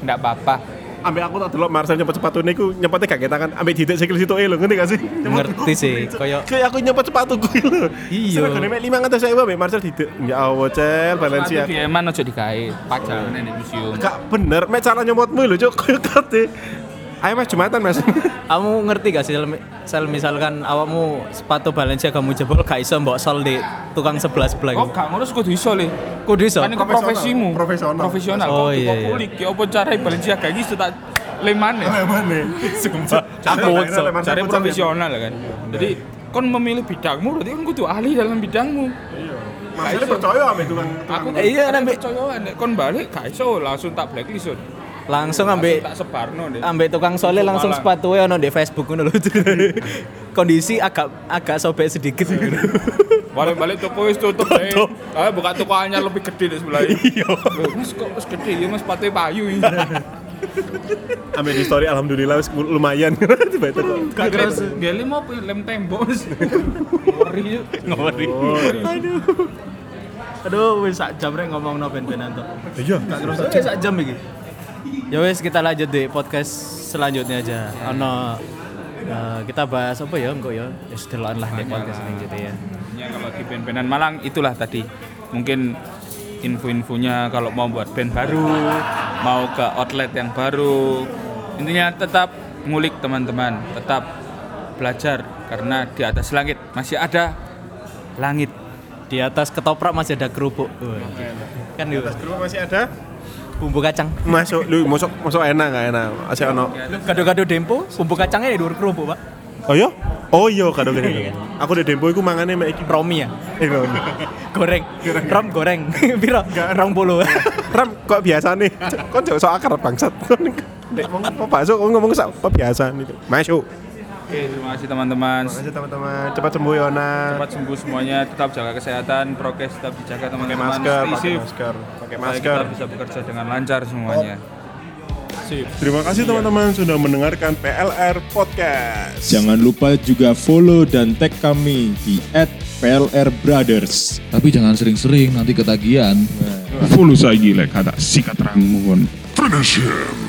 Enggak apa-apa. ambek aku tak delok Marcel nyepet sepatune iku nyepete gak ketakan ambek didik sikil sitoke lho ngerti gak sih? Nyepet- Ngerti sih, koyo- kayak aku nyepet sepatuku iki lho. Iya. Senegone mek 500.000 ambek Marcel didik. Ya Allah, Cel, Sepatu Valencia. di Eman aja digawe, pajang nih di museum. Gak bener, mek cara nyemotmu lho, Cuk. Koyo kate. Ayo Mas Jumatan, Mas. Kamu ngerti gak sih sel- sel misalkan awakmu sepatu Balenciaga kamu jebol gak iso mbok sol di tukang sebelah sebelah Oh, gitu. gak ngono kudu iso le. Kudu iso. Kan iku Profesional. profesimu. Profesional. Profesional. Oh, Kok iya, iya. iya. Kok kulik ya apa cara Balenciaga iki iso tak lemane. Mana? Sumpah. Aku unsel. Cara profesional kan. Iya, Jadi kon memilih bidangmu berarti kon kudu ahli dalam bidangmu. Marcel Iya. percaya ambek tukang Aku Eh, iya, nek- coyoan nek kon balik gak iso langsung tak blacklist. Sun. Langsung Langsung ambek tak sebarno deh. ambek tukang sole langsung Malang. sepatunya ono di Facebook ngono lho. Hmm. Kondisi agak agak sobek sedikit gitu. Balik-balik toko wis tutup deh. Tutup. Ah buka toko anyar lebih gede deh sebelah. Iya. Mas kok wis gede ya Mas pate payu iki. ambek di story alhamdulillah wis lumayan. Tiba-tiba kok. Gak terus dia lem apa ya? lem tembok. Ngeri yuk. Ngeri. Aduh. Aduh, wis sak jam rek ngomongno ben-benan to. Iya. Terus aja sak jam iki. Ya wis kita lanjut di podcast selanjutnya aja. Ono eh, kita bahas apa ya engko ya? Ya sedelokan lah di podcast selanjutnya ya. Ya kalau di band-bandan Malang itulah tadi. Mungkin info-infonya kalau mau buat band baru, mau ke outlet yang baru. Intinya tetap ngulik teman-teman, tetap belajar karena di atas langit masih ada langit. Di atas ketoprak masih ada kerupuk. Woy. Kan yuk, Terus masih ada? bumbu kacang. Masuk lu masuk masuk enak gak enak? Masih ono. Gado-gado dempo, bumbu kacangnya di dhuwur kerupuk, Pak. Oh iya? Oh iya kadang gini. Aku di dempo iku mangane mek iki. Romi ya. Eh, Ram. Goreng. Rom goreng. Piro? 20. Ram kok biasa nih? Kon jauh sok akar bangsat. Kon nek ngomong apa bakso kon ngomong sok kebiasaan itu. Masuk. Oke, terima kasih teman-teman. Terima kasih teman-teman. Cepat sembuh Yona. Cepat sembuh semuanya, tetap jaga kesehatan, prokes tetap dijaga Pakai teman-teman. masker, Stay pakai safe. masker, pakai Supaya masker. Kita bisa bekerja dengan lancar semuanya. Terima kasih teman-teman sudah mendengarkan PLR Podcast. Jangan lupa juga follow dan tag kami di @plrbrothers. Tapi jangan sering-sering nanti ketagihan. Follow saya lek kata sikat rang mohon. Finish him.